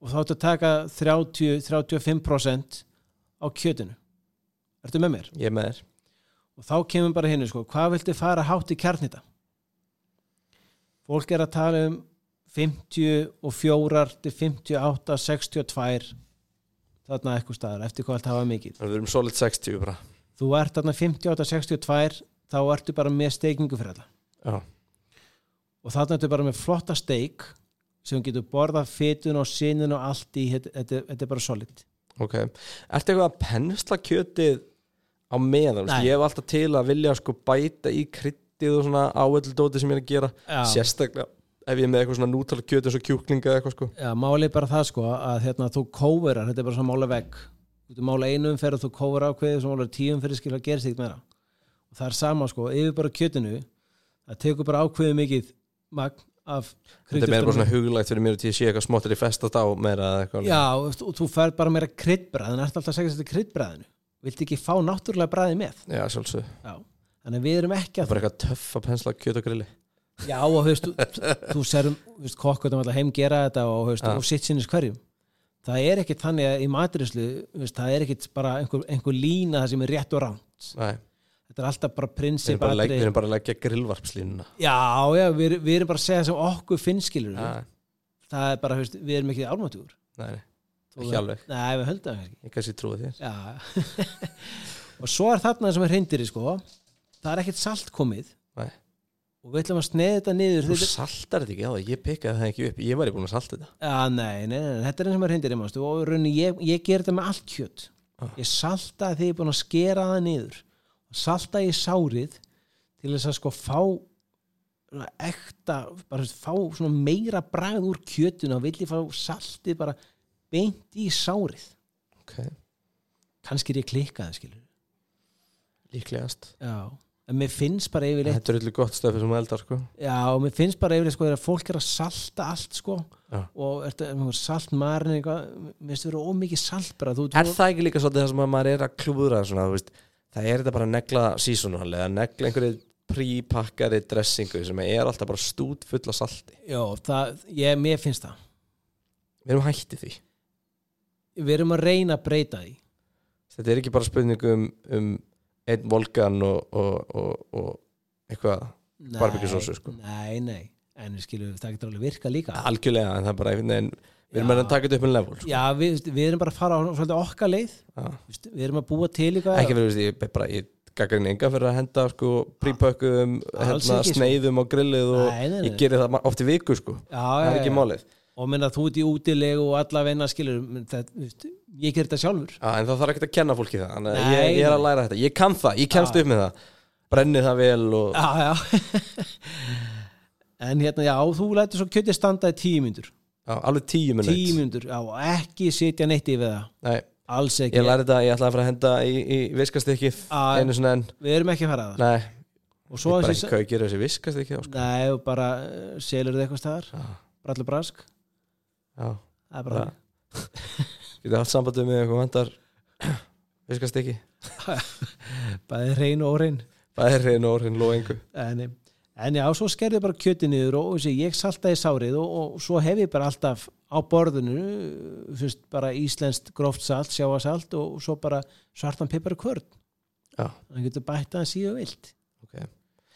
S1: Og þá ert að taka 30-35% á kjötinu. Ertu með mér?
S2: ég er með þér
S1: og þá kemur bara hinn sko, hvað viltu fara hátt í kjarnita fólk er að tala um 54 til 58, 62 þarna eitthvað staðar eftir hvað allt hafa mikið
S2: við erum solid 60 bara
S1: þú ert þarna 58, 62 þá ertu bara með steikingu fyrir alla
S2: já
S1: og þarna ertu bara með flotta steik sem getur borðað fytun og sinin og allt í, þetta, þetta, þetta er bara solid
S2: Ok, ertu eitthvað að pensla kjötið á meðan?
S1: Nei.
S2: Nei. Ég hef alltaf til að vilja sko bæta í kryttið og svona áöldóti sem ég er að gera
S1: Já.
S2: Sérstaklega ef ég er með eitthvað svona nútala kjötið eins og kjúklinga eða eitthvað sko
S1: Já, málið er bara það sko að hérna, þú kóverar, þetta er bara svona mála vegg þú getur mála einu umferð og þú kóverar ákveðið svo mála tíu umferð skilja að gera sig meira og það er sama sko, yfir bara kjötinu það tekur bara ákveðið mikið magn af
S2: Þetta er meira bara
S1: kryddjurtunum.
S2: svona huglægt fyrir mér að ég sé eitthvað smottir í festast á meira eða eitthvað
S1: Já, og þú- og þú fær bara meira kryddbræðin ertu alltaf að segja þetta kryddbræðinu viltu ekki fá náttúrulega bræði með
S2: Já, sjálfsög
S1: Já. þannig að við erum ekki
S2: Það er
S1: að
S2: bara eitthvað töff að pensla kjöt og grilli
S1: Já, og þú veist, þú- þú serum kokkutum alltaf heim gera þetta og, þú veist,
S2: Já.
S1: og sitt sinnis hverjum það er ekkit þannig að í matrislu það er ekkit bara einhver, einhver lína það sem er rétt og ránt
S2: Nei,
S1: þetta er alltaf bara
S2: við
S1: prinsip
S2: erum bara, um- að legg,
S1: atriði.
S2: við erum bara að leggja grillvarpslínuna
S1: Já, já, við, erum- við erum bara að segja sem okkur finnskilur ja.
S2: Nei,
S1: það er bara, þú veist, við erum ekki álmátúr
S2: nei, ekki alveg
S1: Nei, við höldum það ekki
S2: Ég kannski trúi þér
S1: Já og svo er þarna sem er hreindiri sko það er ekkit salt komið
S2: Nei.
S1: og við ætlum að sneða þetta niður
S2: Þú
S1: þetta-
S2: saltar þetta ekki á það, ég pikkaði það ekki upp Ég væri búin að salta þetta
S1: Já, nei, nei, nei, þetta er eins og maður hindir í mástu og í rauninni, ég, ég ger þetta með allt kjött
S2: Ah.
S1: ég salta þegar ég er búin að skera það niður og salta ég sárið til þess að sko fá svona ekta, bara þú veist, fá svona meira bragð úr kjötinu og vill ég fá saltið bara beint í sárið
S2: okay.
S1: kannski er ég klikkaði skilur
S2: Líklegast
S1: Já, en mér finnst bara yfirleitt
S2: Þetta er öllu gott stöfið sem eldar sko
S1: Já, og mér finnst bara yfirleitt sko þegar fólk er að salta allt sko
S2: Já.
S1: og er þetta saltmarin eitthvað, mér finnst vera ómikið salt bara, þú
S2: Er það ekki líka svolítið það sem að maður er að klúðra svona, þú veist, það er þetta bara að negla seasonal eða negla einhverju prípakkari dressingu sem er alltaf bara stút fulla salti
S1: Já, það, ég, mér finnst það
S2: Við erum hætti því
S1: Við erum að reyna að breyta því
S2: Þetta er ekki bara spurning um, um einn volkan og, og, og, og eitthvað
S1: Nei,
S2: Barbecue-sósu, sko.
S1: Nei, nei, en við skilum, það getur alveg virka líka
S2: algjörlega en það er bara einhvern veginn við erum
S1: Já.
S2: að taka þetta upp um level sko.
S1: Já, við, við erum bara að fara á svolítið okkar leið
S2: Já.
S1: Vist, Við erum að búa til eitthvað
S2: ekki verið, veist, ég er bara ég gaggrinn enga fyrir að henda sko prípökkum,
S1: Alls
S2: hérna,
S1: ekki, sko.
S2: sneiðum og grillið og
S1: Nei, nei, nei.
S2: ég geri það ma- oft í viku sko,
S1: Já,
S2: það
S1: já,
S2: er ekki
S1: já.
S2: málið
S1: Og minna þú ert í útilegu og alla vinna skilur menn það, vist, Ég ger þetta sjálfur
S2: Já, en það þarf ekki að kenna fólki það Þannig að
S1: Nei,
S2: ég, ég er að
S1: nei.
S2: læra þetta, ég kann það, ég kemst upp með það brenni það vel og
S1: Já, já En hérna, já, þú lætur svo kjötið standa í tíu myndur
S2: já, alveg tíu minut
S1: Tíu myndur, já, og ekki sitja neitt yfir það
S2: Nei,
S1: Alls ekki,
S2: ég læri þetta, ég ætla að fara að henda í, í viskastykkið
S1: Já.
S2: einu svona en
S1: við erum ekki að fara að það
S2: Nei,
S1: Og
S2: ég
S1: svo
S2: bara
S1: þessi,
S2: ekki hvað ég gera þessi viskastykkið á, sko.
S1: nei, og bara eh, selur þetta eitthvað staðar Brallu brask,
S2: Já,
S1: það er bara
S2: bara Getið haft sambandið með eitthvað vandar viskastykki
S1: bæði hrein og órein
S2: Það er reyna orðin lóengu
S1: en, eh, en já, svo skerði bara kjötið niður og þessi, ég saltaði sárið og, og svo hef ég bara alltaf á borðinu eh, fyrst bara íslenskt gróft salt, sjáasalt og svo bara svartan pipar og kvörn
S2: Já.
S1: þannig getur bætt að síðu vilt
S2: okay.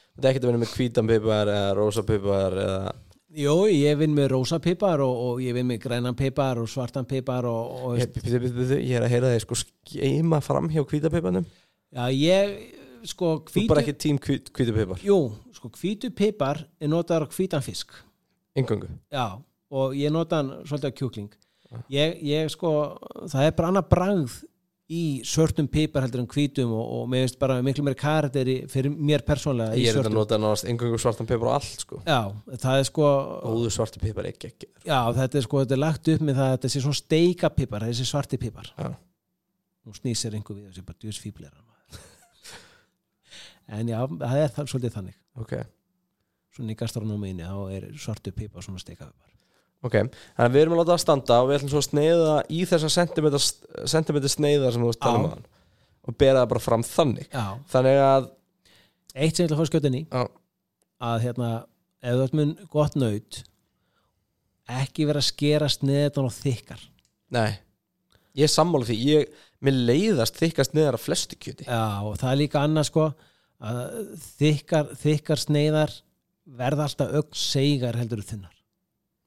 S2: Þetta er ekkert að vinna með hvítan pipar eða rosa pipar eða
S1: Jó, ég vinn með rósa pipar og, og ég vinn með grænan pipar og svartan pipar og, og
S2: Ég, bíddu, bíddu, bíddu, ég er að heyra þig sko skeima fram hjá hvítapipanum
S1: já, ég sko
S2: Þú
S1: hvítu,
S2: er bara ekki tím hvít, hvítapipar
S1: jú, sko hvítu pipar er notaður á hvítan fisk
S2: Engöngu
S1: Já, og ég nota hann svolítið á kjúkling ég, ég sko, það er bara annað bragð í svörtum pipar heldur en hvítum og, og mér veist bara miklu meir karakteri fyrir mér persónlega í
S2: Ég er þetta að
S1: svörtum
S2: nota náðast engöngu svartan pipar og allt sko
S1: Já, það er sko
S2: Óður svartu pipar ekki ekki
S1: Já, þetta er sko, þetta er lagt upp með það að þetta sé svona steika pipar, þessi svarti pipar
S2: Já.
S1: Nú snýsir einhver við þessi bara djús fíblir En já, það er það, svolítið þannig
S2: Ok,
S1: Svona í gastronómiðinni, þá er svartu pipar svona steika pipar
S2: ok Þannig að við erum að láta það standa og við ætlum svo að sneiða í þessa sentimeter, sentimeter sneiða sem þú varst að
S1: Já.
S2: tala um aðan og bera það bara fram þannig
S1: Já,
S2: Þannig að
S1: eitt sem ég ætla að fá skjötinni
S2: á,
S1: að hérna, ef þú ert með gott naut ekki vera að skera sniðetan og þykkar
S2: Nei, ég er sammála því ég, Mér leiðast þykast neðar af flestu kjöti
S1: já, og það er líka annað sko að þykkar, þykkar sneiðar verða alltaf ögn seigar heldur en þunnar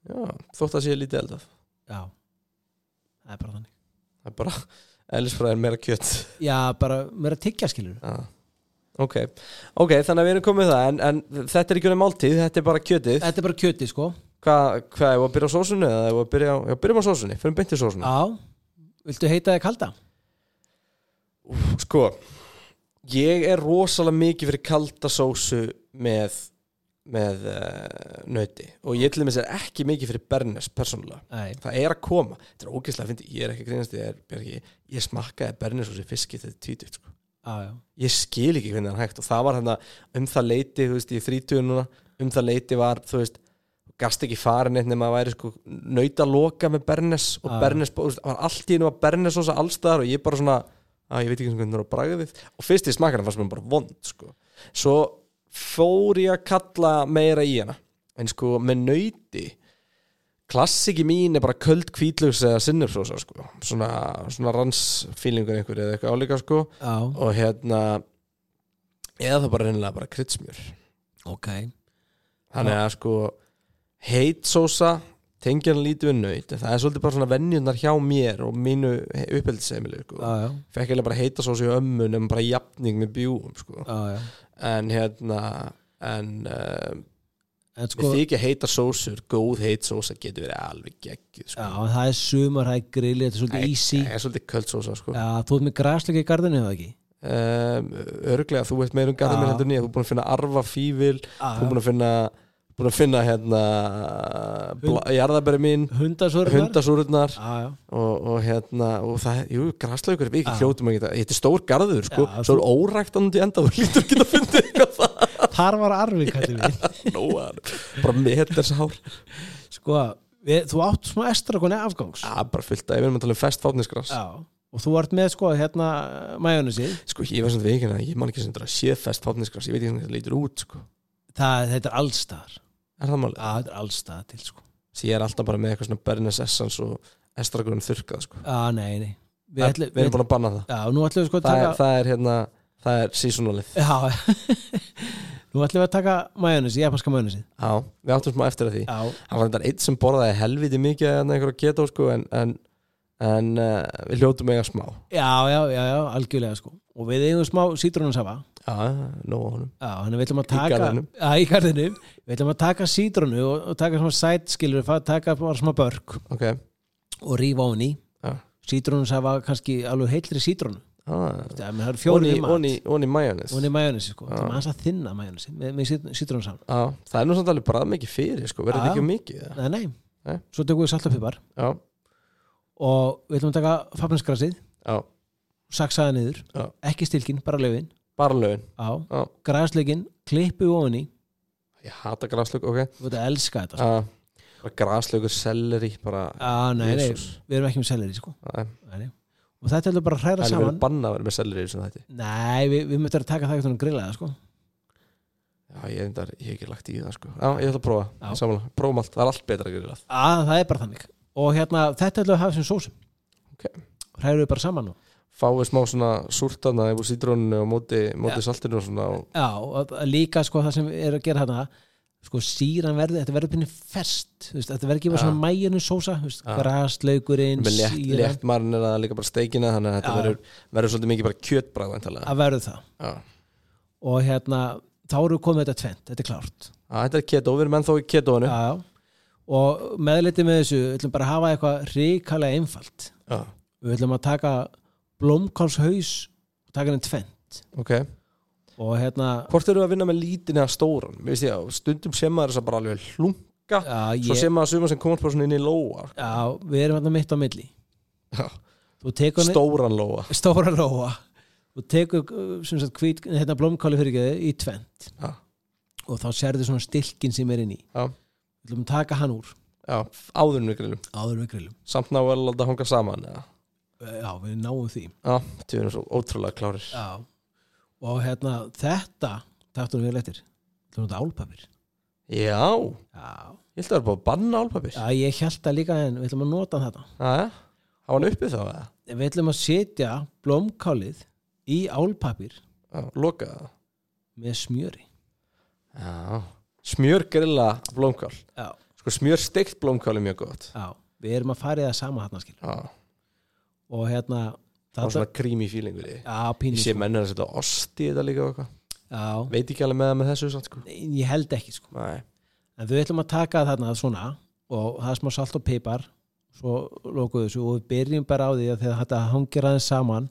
S2: Já, þótt að sé lítið eldað
S1: já, það er bara þannig
S2: Það er bara, eðlisfræðin meira kjöt
S1: já, bara vera að tyggja skilur
S2: Já. Ok, ok, þannig að við erum komið með það en, en þetta er ekki um máltíð, þetta er bara kjötið
S1: þetta er bara kjöti sko
S2: Hvað, hvað, ef að byrja á sósunni eða ef að byrja á, já, byrjum á sósunni, fyrir beint í sósunni
S1: já, viltu heita það kalda?
S2: Sko, ég er rosalega mikið fyrir kalda sósu með, með uh, nöti og ég til dæmis er ekki mikið fyrir bernes persónulega
S1: nei,
S2: Það er að koma, þetta er ógeðslega að fyndi, ég er ekki að grínast, ég er, Bjarki, ég smakkaði bernes og sér fiski þetta tvítugt, sko
S1: já, já,
S2: ég skil ekki hvernig það er hægt og það var hérna um það leiti þú veist, í 30 núna, um það leiti var þú veist, gast ekki farin eitt nema að væri sko nauta loka með Bernes og
S1: Já.
S2: Bernes, þú veist, var allt í einu að Bernes og allstaðar og ég bara svona að ég veit ekki eins og hvernig það er á bragðið og fyrst í smakkanum fannst mér bara vond sko svo fór ég að kalla meira í hana en sko með nauti klassiki mín er bara köld kvítlugs eða sinnupsósa sko svona, svona rannsfílingur einhver eða eitthvað álíka sko
S1: já,
S2: og hérna eða það bara reynilega bara kryddsmjör
S1: ok
S2: þannig að sko heit sósa tengjan lítið við nöyt það er svolítið bara svona venjunar hjá mér og mínu uppeldisemilu sko.
S1: já, já,
S2: fekk eiginlega bara heita sósa í ömmu nefnum bara jafning með bjúum sko.
S1: já, já
S2: en hérna en uh,
S1: en
S2: sko,
S1: sko,
S2: við þykja heita sósur góð heit sósa getur verið alveg geggjuð
S1: já,
S2: sko.
S1: það er sumar, það er grillið, þetta er
S2: Nei,
S1: svolítið easy
S2: það er svolítið köld sósa sko.
S1: Já, þú ert með græsleika í gardinu eða ekki?
S2: um, örglega, þú veist meira um garðið
S1: Já.
S2: mér heldur nýja, þú er búin að finna arfa fífil þú er búin að finna búin að finna hérna bla- jarðabæri mín,
S1: Hundasvörnar?
S2: hundasúrurnar
S1: Já, já.
S2: og, og hérna, og það, jú, graslaugur við ekki
S1: Já.
S2: hljótum að geta, þetta er stór garður sko,
S1: Ah. Já,
S2: svo er óræktandi enda þú lítur ekki að finna eitthvað það
S1: Þar var arfi, kallið við.
S2: nóar, bara meters hár
S1: Sko, við, þú átt smá estra koni afgangs.
S2: Já, bara fullt að, ég verðum að tala um fest fátnisgras
S1: Og þú ert með, sko, hérna, majónesi.
S2: sko, ég var svona við ekki að ég man ekki sem þetta sé fest fátnisgras, ég veit ekki hvernig það lítur út sko.
S1: Það, þetta er allstaðar.
S2: er það
S1: Já,
S2: málið?
S1: þetta er allstaðar til, sko.
S2: Því ég er alltaf bara með eitthvað svona Bernes Essence og estragrunum þurrkað sko.
S1: Já, nei, nei. Við
S2: við
S1: ætlum,
S2: erum búin að banna það
S1: Já, nú ætlum við sko að
S2: það
S1: taka...
S2: er, það er hérna það er seasonalið
S1: Já Nú ætlum við að taka majónesi, japanska majónesi
S2: Já, við áttum smá eftir að því
S1: Já,
S2: Það var þetta eitt sem borðaði helviti mikið en einhverja keto sko en, en, en uh, við hljótum eiga smá
S1: já, já, já, já algjörlega sko Og við eigum smá sítrónusafa
S2: Já, nóg á honum
S1: Já, þannig við ætlum að taka
S2: garðinum.
S1: Já, í garðinu Við ætlum að taka sítrónu og, og taka svona sætskilur taka bara smá börk
S2: Ok,
S1: og rífa ofan í
S2: já
S1: Sítrónusafa kannski alveg heilri sítrónu
S2: Ah,
S1: Það menn það eru fjóri í mat
S2: Onni onni majónis
S1: Hún er majónesi sko, það er maður að þinna majónesi með, með sítrónusafa
S2: Já, það er nú samt alveg brað mikið fyrir sko, verður
S1: Já.
S2: þetta ekki of mikið eða?
S1: Nei, nei,
S2: Nei.
S1: svo tökum við saltafipar
S2: Já,
S1: og við ætlum að taka fafninsgrasið
S2: já,
S1: saksaða niður,
S2: Já.
S1: ekki stilkin, bara löfin
S2: bara lögin
S1: á,
S2: Já,
S1: græsleikin, klippu ofan í
S2: ég hata graslög, ok
S1: þú veit að elska þetta sko.
S2: Já, bara graslögur, selleri bara, eh,
S1: ah, nei, nei,
S2: Jesus.
S1: við erum ekki með seleri sko.
S2: það
S1: Nei, nei. og þetta er bara að hræra
S2: er verið
S1: saman
S2: banna að vera með selleri í þessum þætti
S1: nei, við, við möttum að taka það eftir að grilla það sko.
S2: Já, ég, endar, ég hef ekki lagt í það sko Já, ég ætla að prófa,
S1: Já.
S2: Ég sammála, prófum allt, það er allt betra að gera það
S1: ah, það er bara þannig og hérna, þetta ætlum við að hafa sem sósum
S2: Ok.
S1: hræru við bara saman og,
S2: Fáið smá svona súrtana yfir sítróninu og móti, móti saltinu og svona og,
S1: já, og að- líka sko, það sem er að gera hérna sko síran verði, þetta verður pinni fest þú veist, þetta verður ekki bara
S2: Já.
S1: svona mæjunu sósa þú veist,
S2: Já.
S1: graslaukurinn,
S2: með létt,
S1: sýran.
S2: létt marinn er það líka bara steikina þannig að þetta
S1: Já.
S2: verður, verður svolítið mikið bara kjötbrað væntanlega.
S1: að verður það
S2: Já,
S1: og hérna, þá eru komið þetta tvent þetta er klárt
S2: Já, þetta er keto, við erum ennþá í ketoinu
S1: já, já. og meðlitið með þessu við ætlum bara að hafa eitthvað ríkalega einfalt
S2: Já,
S1: við ætlum að taka blómkálshaus og taka henni tvent
S2: ok
S1: og hérna
S2: Hvort eru að vinna með lítinn eða stóran? Mér veist ég að stundum sé maður þess að bara alveg hlunga
S1: já,
S2: Svo
S1: ég,
S2: sé maður suma sem komast bara svona inn í lóa
S1: já, við erum hérna mitt á milli
S2: Já.
S1: þú tekur henni
S2: Stóran lóa
S1: stóra lóa og tekur uh, sem sagt hvít, hérna blómkáli fyrir í tvent
S2: Já,
S1: og þá sérðu svona stilkin sem er inn í
S2: já,
S1: við ætlum að taka hann úr
S2: já áðurinn við grillum
S1: áður en við grillum
S2: Samt ná vel að láta hanga saman eða?
S1: Uh, já, við náum því
S2: Já, þau eru svo ótrúlega klárir
S1: Já. Og hérna, þetta taktum við eftir. Það er þetta álpapir.
S2: Já,
S1: Já.
S2: ég held að það er bara að banna álpapir
S1: Já, ég held það líka en við ætlum að nota þetta.
S2: Jæja, hafa hann uppið þá eða?
S1: En Við ætlum að setja blómkálið í álpapir
S2: Já, loka það
S1: með smjöri.
S2: Já, smjörgrilla blómkál
S1: Já.
S2: Sko smjörsteikt blómkál er mjög gott
S1: Já. Við erum að fara í það sama hérna skil.
S2: Já,
S1: Og hérna,
S2: það er
S1: þetta...
S2: svona creamy feeling við því
S1: Já, sko.
S2: Ég
S1: pínu.
S2: sé mennur að setja ost í þetta líka og eitthvað
S1: sko. Já.
S2: Veit ekki alveg með það með þessu satt sko
S1: Nei, Ég held ekki, sko.
S2: Nei
S1: En við ætlum að taka þarna svona og það er smá salt og pipar svo lokuðu þessu og við byrjum bara á því að þegar þetta hangir aðeins saman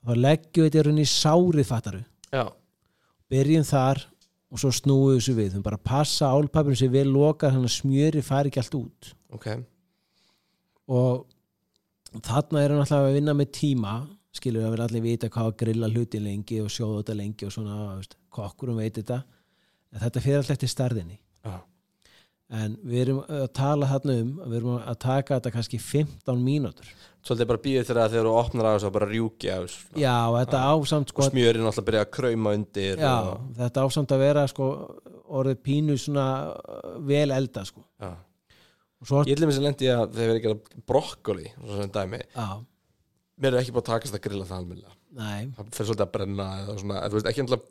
S1: þá leggjum við þetta í rauninni í sárið fattaru
S2: Já,
S1: byrjum þar og svo snúið þessu við þannig bara að passa álpapirinn sem við lokar þannig að smjöri fari ekki allt út
S2: ok
S1: og þarna erum við alltaf að vinna með tíma skilur við að við allir vita hvað að grilla hlutin lengi og sjóða þetta lengi og svona þú veist, kokkurum veit þetta en þetta fyrir alltaf til starðinni
S2: Já.
S1: en við erum að tala þarna um að við erum að taka þetta kannski 15 mínútur
S2: Svolítið bara býðið þegar þegar þú opnar að þessu og bara rjúki að þessu
S1: já og þetta ásamt
S2: og
S1: sko
S2: smjörinn alltaf byrja að krauma undir
S1: já,
S2: og,
S1: þetta ásamt að vera sko orðið pínu svona uh, vel elda sko
S2: já.
S1: og svo
S2: Ég ætlum þess að lendi að þegar við erum ekki að brokkoli og svona dæmi,
S1: já,
S2: mér er ekki búið að takast að grilla það almennilega,
S1: nei
S2: það fyrir svolítið að brenna eða svona, eða þú veist, ekki alltaf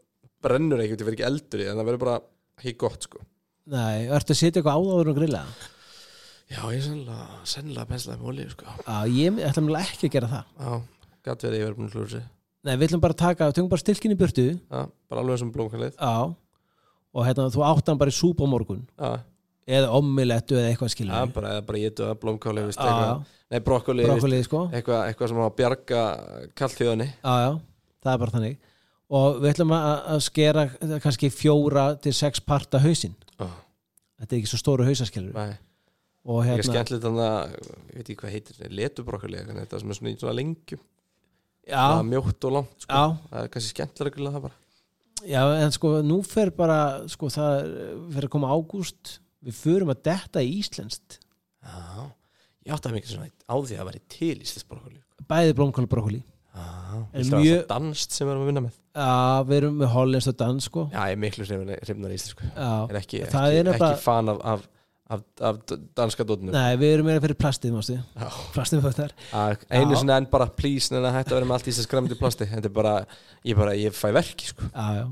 S2: brennur ekki, það verður ekki eldur í, en það verður bara hei gott sko.
S1: Nei, ertu að setja eitthvað á það áður og grilla?
S2: Já, ég sennilega, sennilega penslaði með olíu sko.
S1: Já, ég ætla mér ekki að gera það
S2: Já, gæti verið ég verið búin að hlúsi
S1: Nei, við ætlum bara að taka, við tökum bara stilkin í burtu
S2: Já, bara alveg sem blómkalið
S1: Já Og hérna, þú átt hann bara í súpa á morgun
S2: Já,
S1: Eða ommilettu eða eitthvað
S2: já,
S1: skilur við.
S2: bara, eða bara ég duða blómkálið,
S1: Já, já,
S2: nei, brokkoli,
S1: brókkulið sko Já,
S2: eitthvað eitthva sem á að bjarga kalltíðunni
S1: já, það er bara þannig Og við ætlum að, að skera eh, kannski fjóra til sex parta hausinn
S2: oh,
S1: Þetta er ekki svo stóru hausaskilur
S2: Nei,
S1: Og
S2: það er
S1: hérna,
S2: skemmtilegt þannig að ég veit ekki hvað heitir, letubrokkoli þetta sem er svona í svona lengjum það
S1: já,
S2: er mjótt og langt, sko.
S1: já
S2: það er kannski skemmtilega að grilla það bara
S1: Já, en sko, nú fer bara sko, það er- fer að koma ágúst Við förum að detta í íslenskt
S2: Já, ég átti að mikið svona á því að væri til íslensbrokkoli
S1: Bæði blómkál og brókkulið En
S2: Það er
S1: mjög-
S2: mjög... danst sem við erum að vinna með
S1: Já, við erum með hollenskt og dans sko
S2: Já, ég er miklu hrifnar íslensku
S1: Já,
S2: en ekki,
S1: það
S2: ekki,
S1: er nefnilega-
S2: ekki fan af, af, af, af d- danska dótinu
S1: Nei, við erum meira fyrir plastið, mástu Plastið fötar
S2: einu sinni enn bara please neina hætti að vera með allt í þessi skræmdi plasti þetta er bara, ég bara, ég fæ verki sko.
S1: Já, já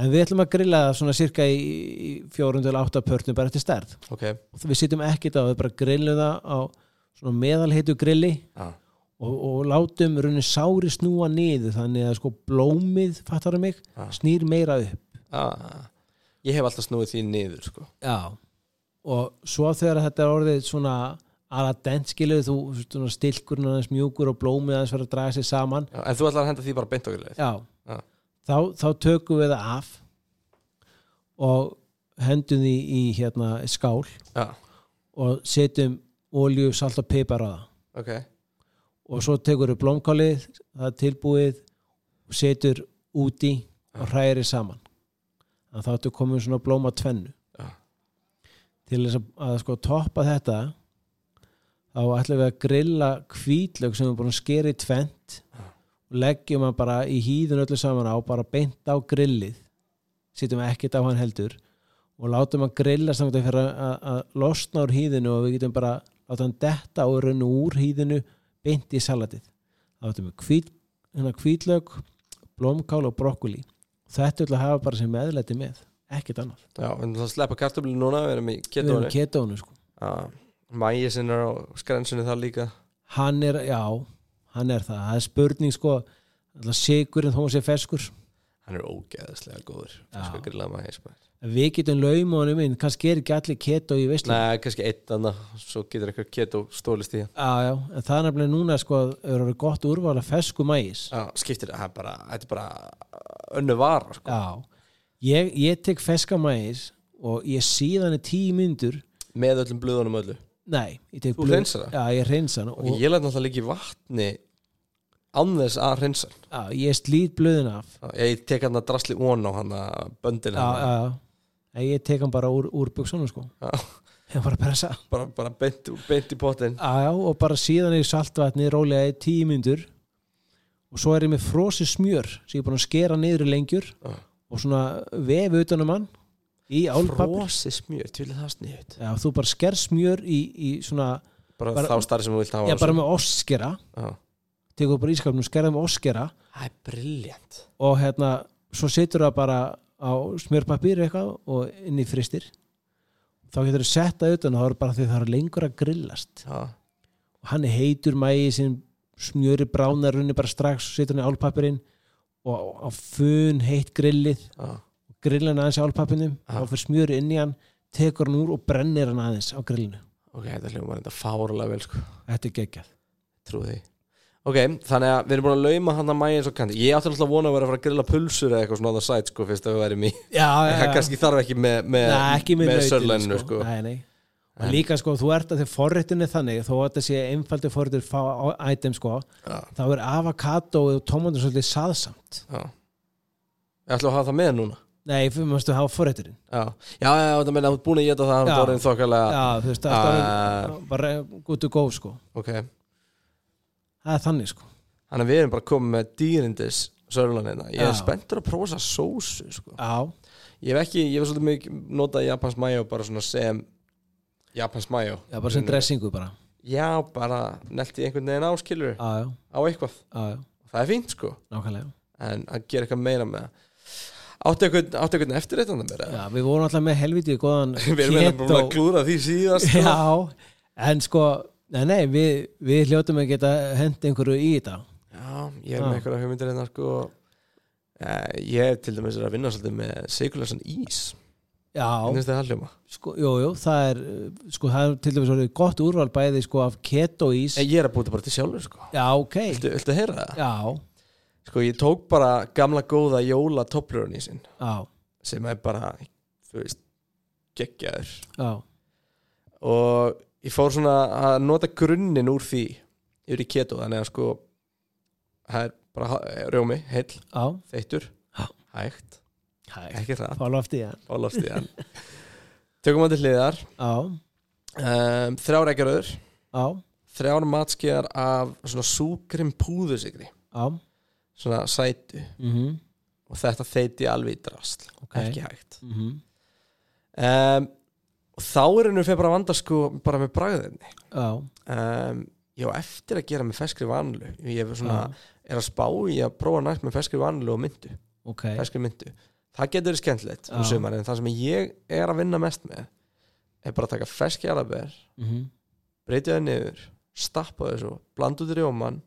S1: En við ætlum að grilla það svona cirka í, í 408 pörnum bara eftir stærð
S2: ok,
S1: og við sitjum ekkit á, við bara grillum það á svona meðalheitu grilli
S2: já,
S1: og, og látum raunin sári snúa niður þannig að sko blómið, fattar mig, snýr meira upp
S2: já ég hef alltaf snúið því niður sko.
S1: Já Og svo þegar þetta er orðið svona ala dent skilur þú svona stilkurinn aðeins mjúkur og blómið aðeins fyrir að draga sér saman
S2: Já, en þú ætlar að henda því bara beint og greiðið
S1: Já,
S2: Já.
S1: Þá, þá tökum við það af og hendum því í hérna skál
S2: já,
S1: og setjum olju, salt og pipar á það
S2: ok,
S1: og svo tekur við blómkálið það er tilbúið og setur úti og hræri saman þannig að þá ertu komin svona blóma tvennu
S2: Já.
S1: til þess að, að sko toppa þetta þá ætlum við að grilla hvítlög sem við erum búin að skera í tvent og leggjum hann bara í hýðun öllu saman á bara beint á grillið setjum ekkert á hann heldur og látum hann grilla samt að fyrir að, að losna úr hýðinu og við getum bara láta hann detta og runnu úr hýðinu beint í salatið þá áttum við hvít, hérna hvítlög blómkál og brokkoli þetta ætla að hafa bara sem meðlæti með ekkert annað,
S2: já, en það sleppa kartöflu núna, við erum í
S1: við erum
S2: ketónu
S1: ketónu sko.
S2: mæjisinn er á skrensinu þar líka
S1: hann er, já hann er það, það er spurning sko alltaf sigurinn þó að sé feskur
S2: hann er ógeðslega góður
S1: Já.
S2: sko grillað mæjis maður.
S1: við getum laum og hann um kannski er ekki allir ketó í veislu
S2: Nei, kannski eitt annað, svo getur eitthvað keto stólist í það
S1: já, já, en það er nefnilega núna sko er orðið gott úrval að fesku mægis
S2: Já, skiptir, það er bara, þetta er bara önnu vara, sko.
S1: já, ég, ég tek feska mægis og ég síðan er tíu myndur
S2: Með öllum blöðunum öllu.
S1: nei, ég tek
S2: Þú
S1: blöð-
S2: hreinsar það?
S1: já, ég reynsa hann
S2: Og ég læt náttúrulega líka í vatni án þess að hreinsa. hann.
S1: Já, ég slít blöðin af
S2: Já, Ég tek hann að drasli ón á hann að böndina.
S1: Já, já, já Nei, Ég tek hann bara úr, úr buksunum sko
S2: já.
S1: Ég bara pressa
S2: Bara, bara beint, beint í potin.
S1: Já, já, og bara síðan í saltvatni rólega í tíu myndur og svo er ég með frosi smjör sem ég er búin að skera niður í lengjur
S2: Já.
S1: og svona vefi utanum hann í álpapir
S2: Frosi smjör, til það sniðut.
S1: Já, þú bara sker smjör í, í svona
S2: Bara,
S1: Bara-
S2: þá starf sem þú vilt hafa.
S1: Já,
S2: á
S1: bara
S2: þessu.
S1: með ostskera
S2: Já.
S1: tekur bara ískapnum, skerða með ostskera
S2: Það er briljant.
S1: og hérna svo setur það bara á smjörpapír eitthvað og inn í fristir þá getur það sett það utan og þá er bara því það er lengur að grillast
S2: Já.
S1: og hann er heitur mægi sem smjöri bránar runni bara strax og setur hann í álpapirinn og á fun heitt grillið
S2: Já.
S1: grillan aðeins í álpapirnum og þá fyrir smjöri inn í hann tekur hann úr og brennir hann aðeins á grillinu
S2: Ok, þetta hljómar þetta fárlega vel, sko.
S1: þetta er geggjað
S2: Trúið því. Ok, þannig að við erum búin að lauma hann að mæja eins og kandi. Ég átti alltaf að vona að vera að fara að grilla pulsur eða eitthvað svona á það sæt, sko, fyrst að við værim í
S1: já,
S2: En það kannski þarf ekki með, með,
S1: Nei, ekki með,
S2: með
S1: nautinu,
S2: sörlæninu sko.
S1: Nei, nei. og líka sko, þú ert að þið forréttin er þannig þó að þetta sé einfaldi forréttin fá á- item sko,
S2: Já.
S1: þá er avokado og tómatur svolítið saðsamt
S2: Já. Ég ætla að hafa það með núna
S1: nei, fyrir mástu að hafa forréttin
S2: Já, já, já, þetta meina að þú ert búin að geta það
S1: Já.
S2: Það er orðin þokkalega
S1: já, þú veist, það er
S2: Ah.
S1: alveg- bara good to go sko,
S2: Ok,
S1: það er þannig sko
S2: þannig að við erum bara komið með dýrindis sörlænina Ég er
S1: Já.
S2: spenntur að prófa þessa sósu sko.
S1: já,
S2: Ég hef ekki, ég hef svolítið mikið notað Japans mayo bara svona sem Japans mayo
S1: já bara sem dressingu bara
S2: Já, bara nelti einhvern veginn áskilur
S1: já, já,
S2: á eitthvað
S1: já, já,
S2: Það er fínt sko,
S1: nákvæmlega
S2: en að gera eitthvað meira með það Áttu einhvern, áttu einhvern eftir þetta með það?
S1: já, við vorum alltaf með helviti góðan
S2: Við erum eiginlega búin að
S1: keto-
S2: klúra því síðast sko.
S1: já, en sko nei, nei, við, við hljótum að geta hent einhverju í þetta
S2: Já, ég er
S1: Já.
S2: með einhverja hugmyndir hérna sko Eh, Ég til dæmis er að vinna svolítið með Sigurlarsan Ís
S1: já,
S2: Finnst þið það hljóma?
S1: Sko, jú, jú, það er, uh, sko, það er til dæmis orðið gott úrval bæði sko af keto ís
S2: Eh, Ég er að búta bara til sjálfur sko
S1: Já, ok,
S2: Viltu, viltu heyra það?
S1: já,
S2: Sko ég tók bara gamla góða jóla topplurinn í sinn
S1: já,
S2: sem er bara, þú veist geggjaður
S1: já,
S2: og ég fór svona að nota grunnin úr því yfir í keto þannig að sko það er bara ha- rjómi, heill,
S1: já,
S2: þeittur
S1: Já.
S2: hægt,
S1: hæ,
S2: ekki rætt,
S1: fála afti, já,
S2: álast í hann Tökum hann til hliðar
S1: já,
S2: um, þrjár ekkeröður
S1: já,
S2: þrjár matskeiðar af svona súkrim púðusikri
S1: já,
S2: svona sætu
S1: mhm,
S2: og þetta þeiti alveg í drasl
S1: Ok.
S2: ekki hægt
S1: mhm,
S2: um, og þá er henni fyrir bara að vanda sko bara með bragðinni
S1: já,
S2: um, ég á eftir að gera með feskri vanlu ég er svona, er að spá í að prófa nægt með feskri vanlu og myndu
S1: ok
S2: feskri myndu, það getur verið skemmtilegt um
S1: Já.
S2: sumar, en það sem ég er að vinna mest með er bara að taka feski alabær
S1: Mhm.
S2: breytja það niður, stappa þessu blanda út rjóman,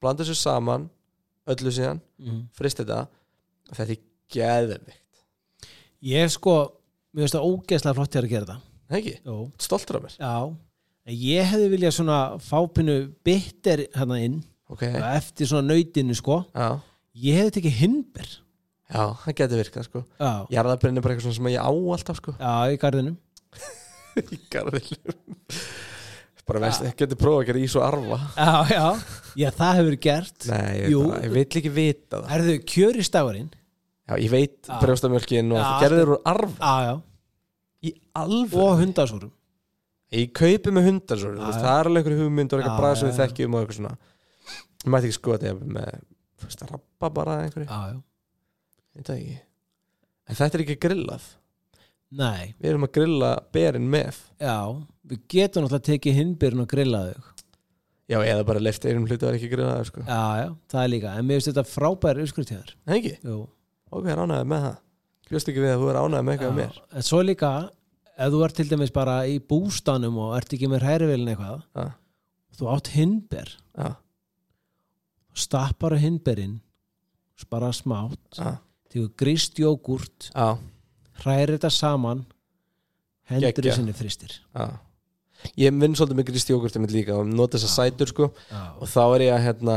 S2: blanda þessu saman öllu síðan,
S1: Mhm.
S2: frist þetta þetta er geðvikt,
S1: ég sko, mér finnst það ógeðslega flott ég er að gera það
S2: ekki?
S1: Jó.
S2: Stoltur af mér
S1: já, En ég hefði viljað svona fápinu bitter hérna inn
S2: ok,
S1: og eftir svona nautinu sko
S2: já,
S1: ég hefði tekið hinnber
S2: já, það getur virkað sko
S1: já,
S2: ég er að brenna bara eitthvað svona sem ég á alltaf sko
S1: já, í garðinum
S2: í garðilum bara veist, ég getur prófað að gera ís og arfa
S1: já, já, já, það hefur verið gert
S2: nei, ég,
S1: Jú.
S2: veit það, ég vil ekki vita það
S1: Herðu, kjöristagurinn
S2: já, ég veit
S1: Já.
S2: brjóstamjölkin og
S1: Já, sko.
S2: það gerður úr arfa
S1: Já, já,
S2: í alveg
S1: og hundasúrum
S2: Ég kaupi með hundar svo,
S1: Já,
S2: þú veist,
S1: já.
S2: það er alveg einhver hugmynd og
S1: Já,
S2: eitthvað bræð sem við
S1: já, já.
S2: þekkjum og eitthvað svona Ég mætti ekki sko að þetta með, þú veist, að rappa bara að einhverju,
S1: Já, já,
S2: ég veit það ekki En þetta er ekki grillað,
S1: nei,
S2: við erum að grilla berin með
S1: já Við getum náttúrulega tekið hinnbyrn og grillað þau
S2: Já, eða bara leift einum hlutu að ekki grillaður, sko
S1: Já, já, það er líka En mér finnst þetta frábær uppskriftíðar
S2: Nei ekki,
S1: Jú
S2: ok, ég er ánægður með það Bjóst ekki við að þú er ánægður með eitthvað
S1: Já,
S2: með mér
S1: En svo líka, ef þú ert til dæmis bara í bústanum og ert ekki með hærivélin eitthvað
S2: Já,
S1: þú átt hinnber,
S2: já,
S1: stappar á hinnberinn bara smátt
S2: já,
S1: tegur gríst jógurt
S2: já,
S1: hræri þetta saman hendur
S2: Geggjað.
S1: í sinni fristir
S2: já Ég vinn svolítið með gristjókurti mitt líka og nota þess sætur, sko
S1: Já,
S2: Og þá er ég að, hérna,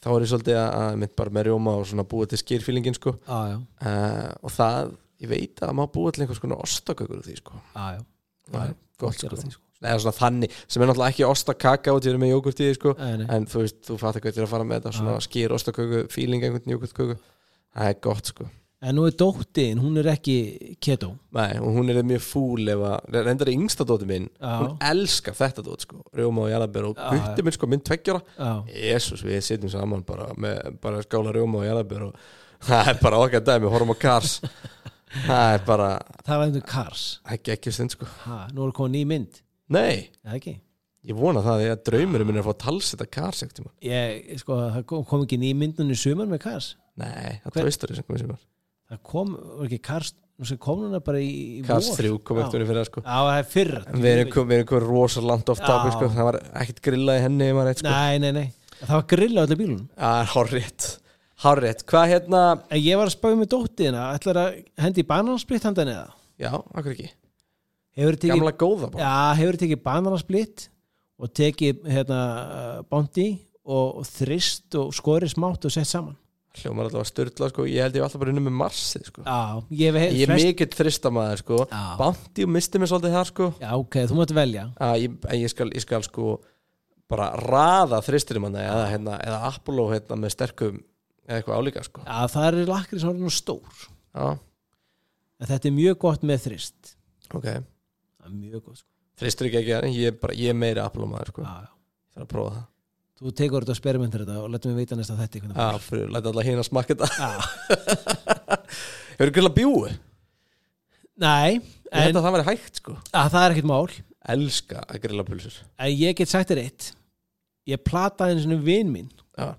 S2: þá er ég svolítið að, að mitt bara með rjóma og svona búa til skýrfýlingin, sko
S1: já, já,
S2: uh, og það, ég veit að maður búið til einhvers konar ostakökur úr því sko.
S1: já, já.
S2: það er gott
S1: gera
S2: sko.
S1: því, sko.
S2: Nei, svona þannig, sem er náttúrulega ekki ostakaka út í þeirra með jógurt í því sko.
S1: Nei, nei.
S2: en þú veist, þú fattar hvað til að fara með þetta svona skýr ostaköku, fíling einhvern jógurtköku það er gott sko
S1: En nú er dóttin, hún er ekki keto
S2: Nei, og hún er mjög fúl ef að reyndar er yngsta dóti minn,
S1: Já.
S2: hún elskar þetta dóti sko, rjóma og jarðabér og
S1: Já, já.
S2: gutti minn sko, minn tveggjara
S1: Já,
S2: Jésús, við sitjum saman bara með bara skála rjóma og jarðabér og það er bara okkar dæmi, horfum á kars það er bara,
S1: það var einhvern Kars
S2: ekki ekki stund sko
S1: ha, Nú er komið ný mynd,
S2: Nei,
S1: eða ekki?
S2: ég vona það því að draumurinn minn er að fá að talsetta kars ekkert tíma.
S1: Ég, sko, það kom, kom ekki ný myndunni sumar með Kars
S2: Nei, það
S1: Hver-
S2: er tvistur sem komið sem var.
S1: Það kom, var ekki Kars Nú sem kom núna bara í, í
S2: Kars
S1: vor.
S2: 3 kom ekkert
S1: Já.
S2: unni fyrir það sko.
S1: Já, það er fyrra
S2: En Við erum komið kom rosa langt off
S1: Já.
S2: topic sko, það var ekkert grillað í henni ef maður rétt sko.
S1: Nei, nei, nei, það var grilla á öllu bílunum
S2: Það er horrið, horrið. Hvað hérna,
S1: En ég var að spáði með dóttina Ætlar að hendi banansplitt handan eða
S2: já, akkur ekki,
S1: Hefur tekið,
S2: gamla góða bara.
S1: Já, hefur tekið banansplitt og tekið hérna uh, bondi og, og þrist og skorið smátt og sett saman
S2: Hljómar alltaf að styrla sko, ég held ég var alltaf bara unni með marsið sko.
S1: Já, ég hef
S2: Ég er mikill þristamæður sko,
S1: Já.
S2: bandi og misti mig svolítið þar sko.
S1: Já, ok, þú mátt velja
S2: að ég, að ég, skal, ég skal sko bara raða þristurum hann eða, hérna, eða Apollo hérna, með sterkum eða eitthvað álíka sko
S1: Já, það er lakrís orðin og stór
S2: Já,
S1: En þetta er mjög gott með þrist
S2: ok
S1: Það er mjög gott sko.
S2: Þristur ekki ekki, en ég, er bara, ég er meiri Apollo maður sko
S1: já, já.
S2: Það er að prófa það
S1: Þú tekur þetta og spermentir þetta og letum við vita næsta þetta hvernig
S2: Já, fyrir, læta alla hinn að smakka þetta
S1: Já.
S2: Hefur ekki að bjúu?
S1: Nei,
S2: Ég held
S1: en
S2: að það væri hægt sko
S1: að það er ekkert mál
S2: Elska að grilla pulsur
S1: En ég get sagt þér eitt Ég plataði einu svona vin minn
S2: Já,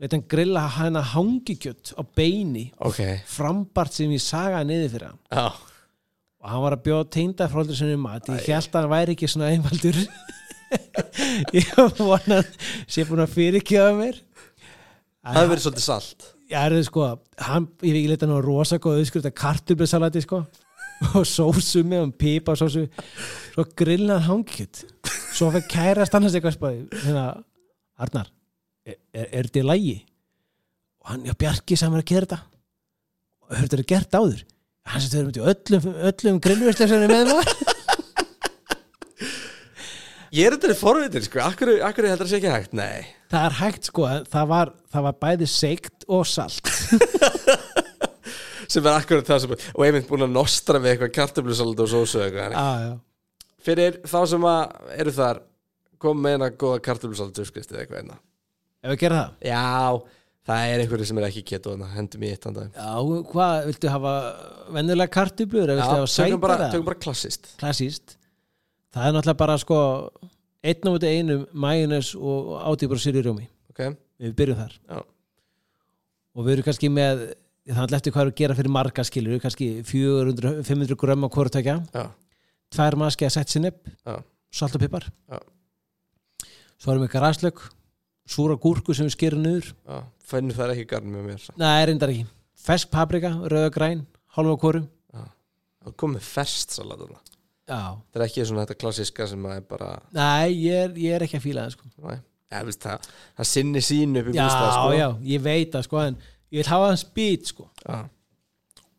S1: Leit hann grilla hana hangikjött á beini
S2: ok
S1: Frambart sem ég sagaði niður fyrir hann
S2: Já,
S1: Og hann var að bjóða teinda fróldur sinni um mat Ég held að hann væri ekki svona einfaldur Ég vona að sé búin að fyrirkjöða mér En
S2: það hefur verið svolítið salt
S1: Já, er þið sko, hann, ég hef ekki leita hann á rosa góð auðskrifta kartubresalati sko og sósu með hann pipa sósu svo grillað hangkjöt svo fyrir kærast annars eitthvað spáði hérna, Arnar er, er, er þetta í lægi? og hann, já, Bjarki sem er að gera þetta og hefur þetta gert áður hann sem þau erum þetta í öllum, öllum grillverslega sem er með maður
S2: Ég er þetta forvitin sko, akkur, akkur heldur það sé ekki hægt Nei,
S1: það er hægt sko, en það var, það var bæði seikt og salt
S2: sem er akkur það sem Og einmitt búin að nostra við eitthvað kartöflusalat og sósu eitthvað en-
S1: ah, já.
S2: fyrir þá sem að eru þar kom með eina góða kartöflusaldu skristið eitthvað hérna. einna
S1: ef við gera það
S2: já, það er einhverju sem er ekki keto þarna, hendum í eitt andag
S1: Já, hvað, viltu hafa vennilega kartublur eða viltu hafa
S2: tökum bara,
S1: sætara?
S2: tökum bara klassist
S1: Klassíst það er náttúrulega bara sko einn á þetta einum majónes og átýpur sirjurjómi
S2: ok,
S1: við byrjum þar
S2: já,
S1: og við erum kannski með það er alltaf eftir hvað er að gera fyrir marga skilur kannski 400-500 grömm á hvort tækja
S2: já,
S1: tvær maski að setja sinni upp
S2: já,
S1: salt og pipar
S2: Já.
S1: svo erum við græslög súra gúrku sem við skerum niður
S2: já fennu það ekki garn með mér
S1: Nei, það er reyndar ekki Fesk paprika, rauða græn, hálfa kóru
S2: það kom með ferst salat þarna.
S1: Já
S2: það er ekki svona þetta klassiska sem að er bara
S1: Nei, ég er, ég er ekki að fíla það sko
S2: næ, ég, veist, það, það sinni sín upp í
S1: Já,
S2: bústað sko.
S1: já, ég veit það sko en ég vil hafa það spýt sko
S2: já,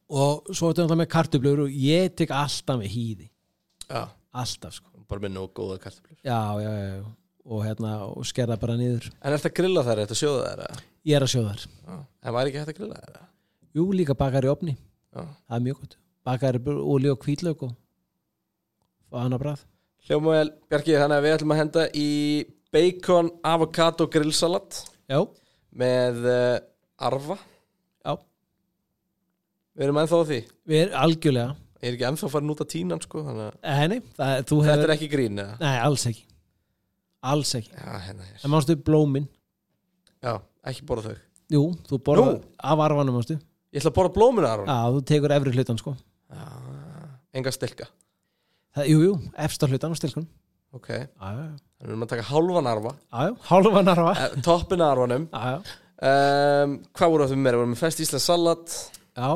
S1: og svo er þetta náttúrulega með kartublur og ég tek alltaf með hýði
S2: já,
S1: alltaf sko
S2: bara með nóg góða kartöflur
S1: Já, já, já, já. og hérna og skerða bara niður
S2: en er þetta grilla þær, er þetta sjóða þær eða?
S1: Ég er að sjóða þar
S2: Já. en væri ekki hægt að grilla þær eða?
S1: Jú, líka bakar í opni
S2: Já.
S1: Það er mjög gott Bakar í olí og hvítlaug og og hann að brað
S2: hljóma vel, Bjarki, þannig að við ætlum að henda í bacon avocado grillsalat
S1: Já,
S2: með uh, arfa
S1: já,
S2: við erum ennþá á því
S1: við erum algjörlega
S2: ég er ekki ennþá farin út af tínan sko, þannig að
S1: Henni, það, þú
S2: þetta
S1: hefur
S2: er ekki grín eða?
S1: Nei, alls ekki Alls ekki
S2: já, hérna hér,
S1: En mástu blómin
S2: já, ekki borða þau
S1: Jú, þú borða
S2: Nú?
S1: af arfanum mástu
S2: ég ætla að borða blómuna Aron
S1: Já, þú tekur efri hlutan sko
S2: enga stilka,
S1: það, Jú, jú, efsta hlutan á stilkunum
S2: ok þannig
S1: Já, já, já.
S2: við erum að taka hálfan arfa
S1: Já, já, hálfan arfa Já,
S2: eh, toppin af arfanum
S1: já,
S2: um, hvað voru það fyrir mér, við vorum með fest íslensk salat
S1: já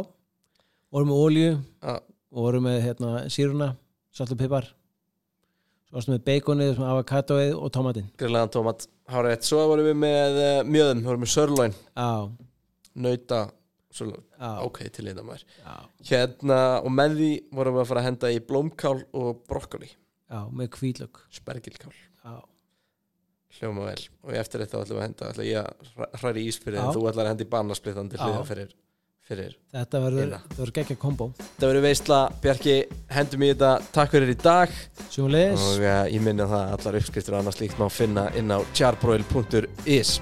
S1: Vorum með olíu
S2: Já.
S1: og vorum með hérna, síruna, salt og pipar Svo varstu með beikonið, avokatoið og tomatinn
S2: grillaðan tómat, hárið eitt svo vorum við með uh, mjöðum, við vorum með sörlóin
S1: Já,
S2: nauta, sörlóin,
S1: já,
S2: ok, til þetta maður
S1: já,
S2: hérna, og með því vorum við að fara að henda í blómkál og brokkoli
S1: já, með hvítlög
S2: spergilkál,
S1: Já,
S2: hljóma vel og eftir þetta ætlum við að henda, ætla ég að hræri í ísfyrir
S1: Já.
S2: en þú ætlar að henda í banasplitan til
S1: Já.
S2: hliða fyrir, fyrir
S1: þetta verður,
S2: Hérna.
S1: þetta verður geggja kombo
S2: þetta verður veistla, Bjarki, hendum í þetta takk fyrir í dag eh,
S1: Sjónleis
S2: og uh, ég minna það að allar uppskriftur og annað slíkt má finna inn á charbroil.is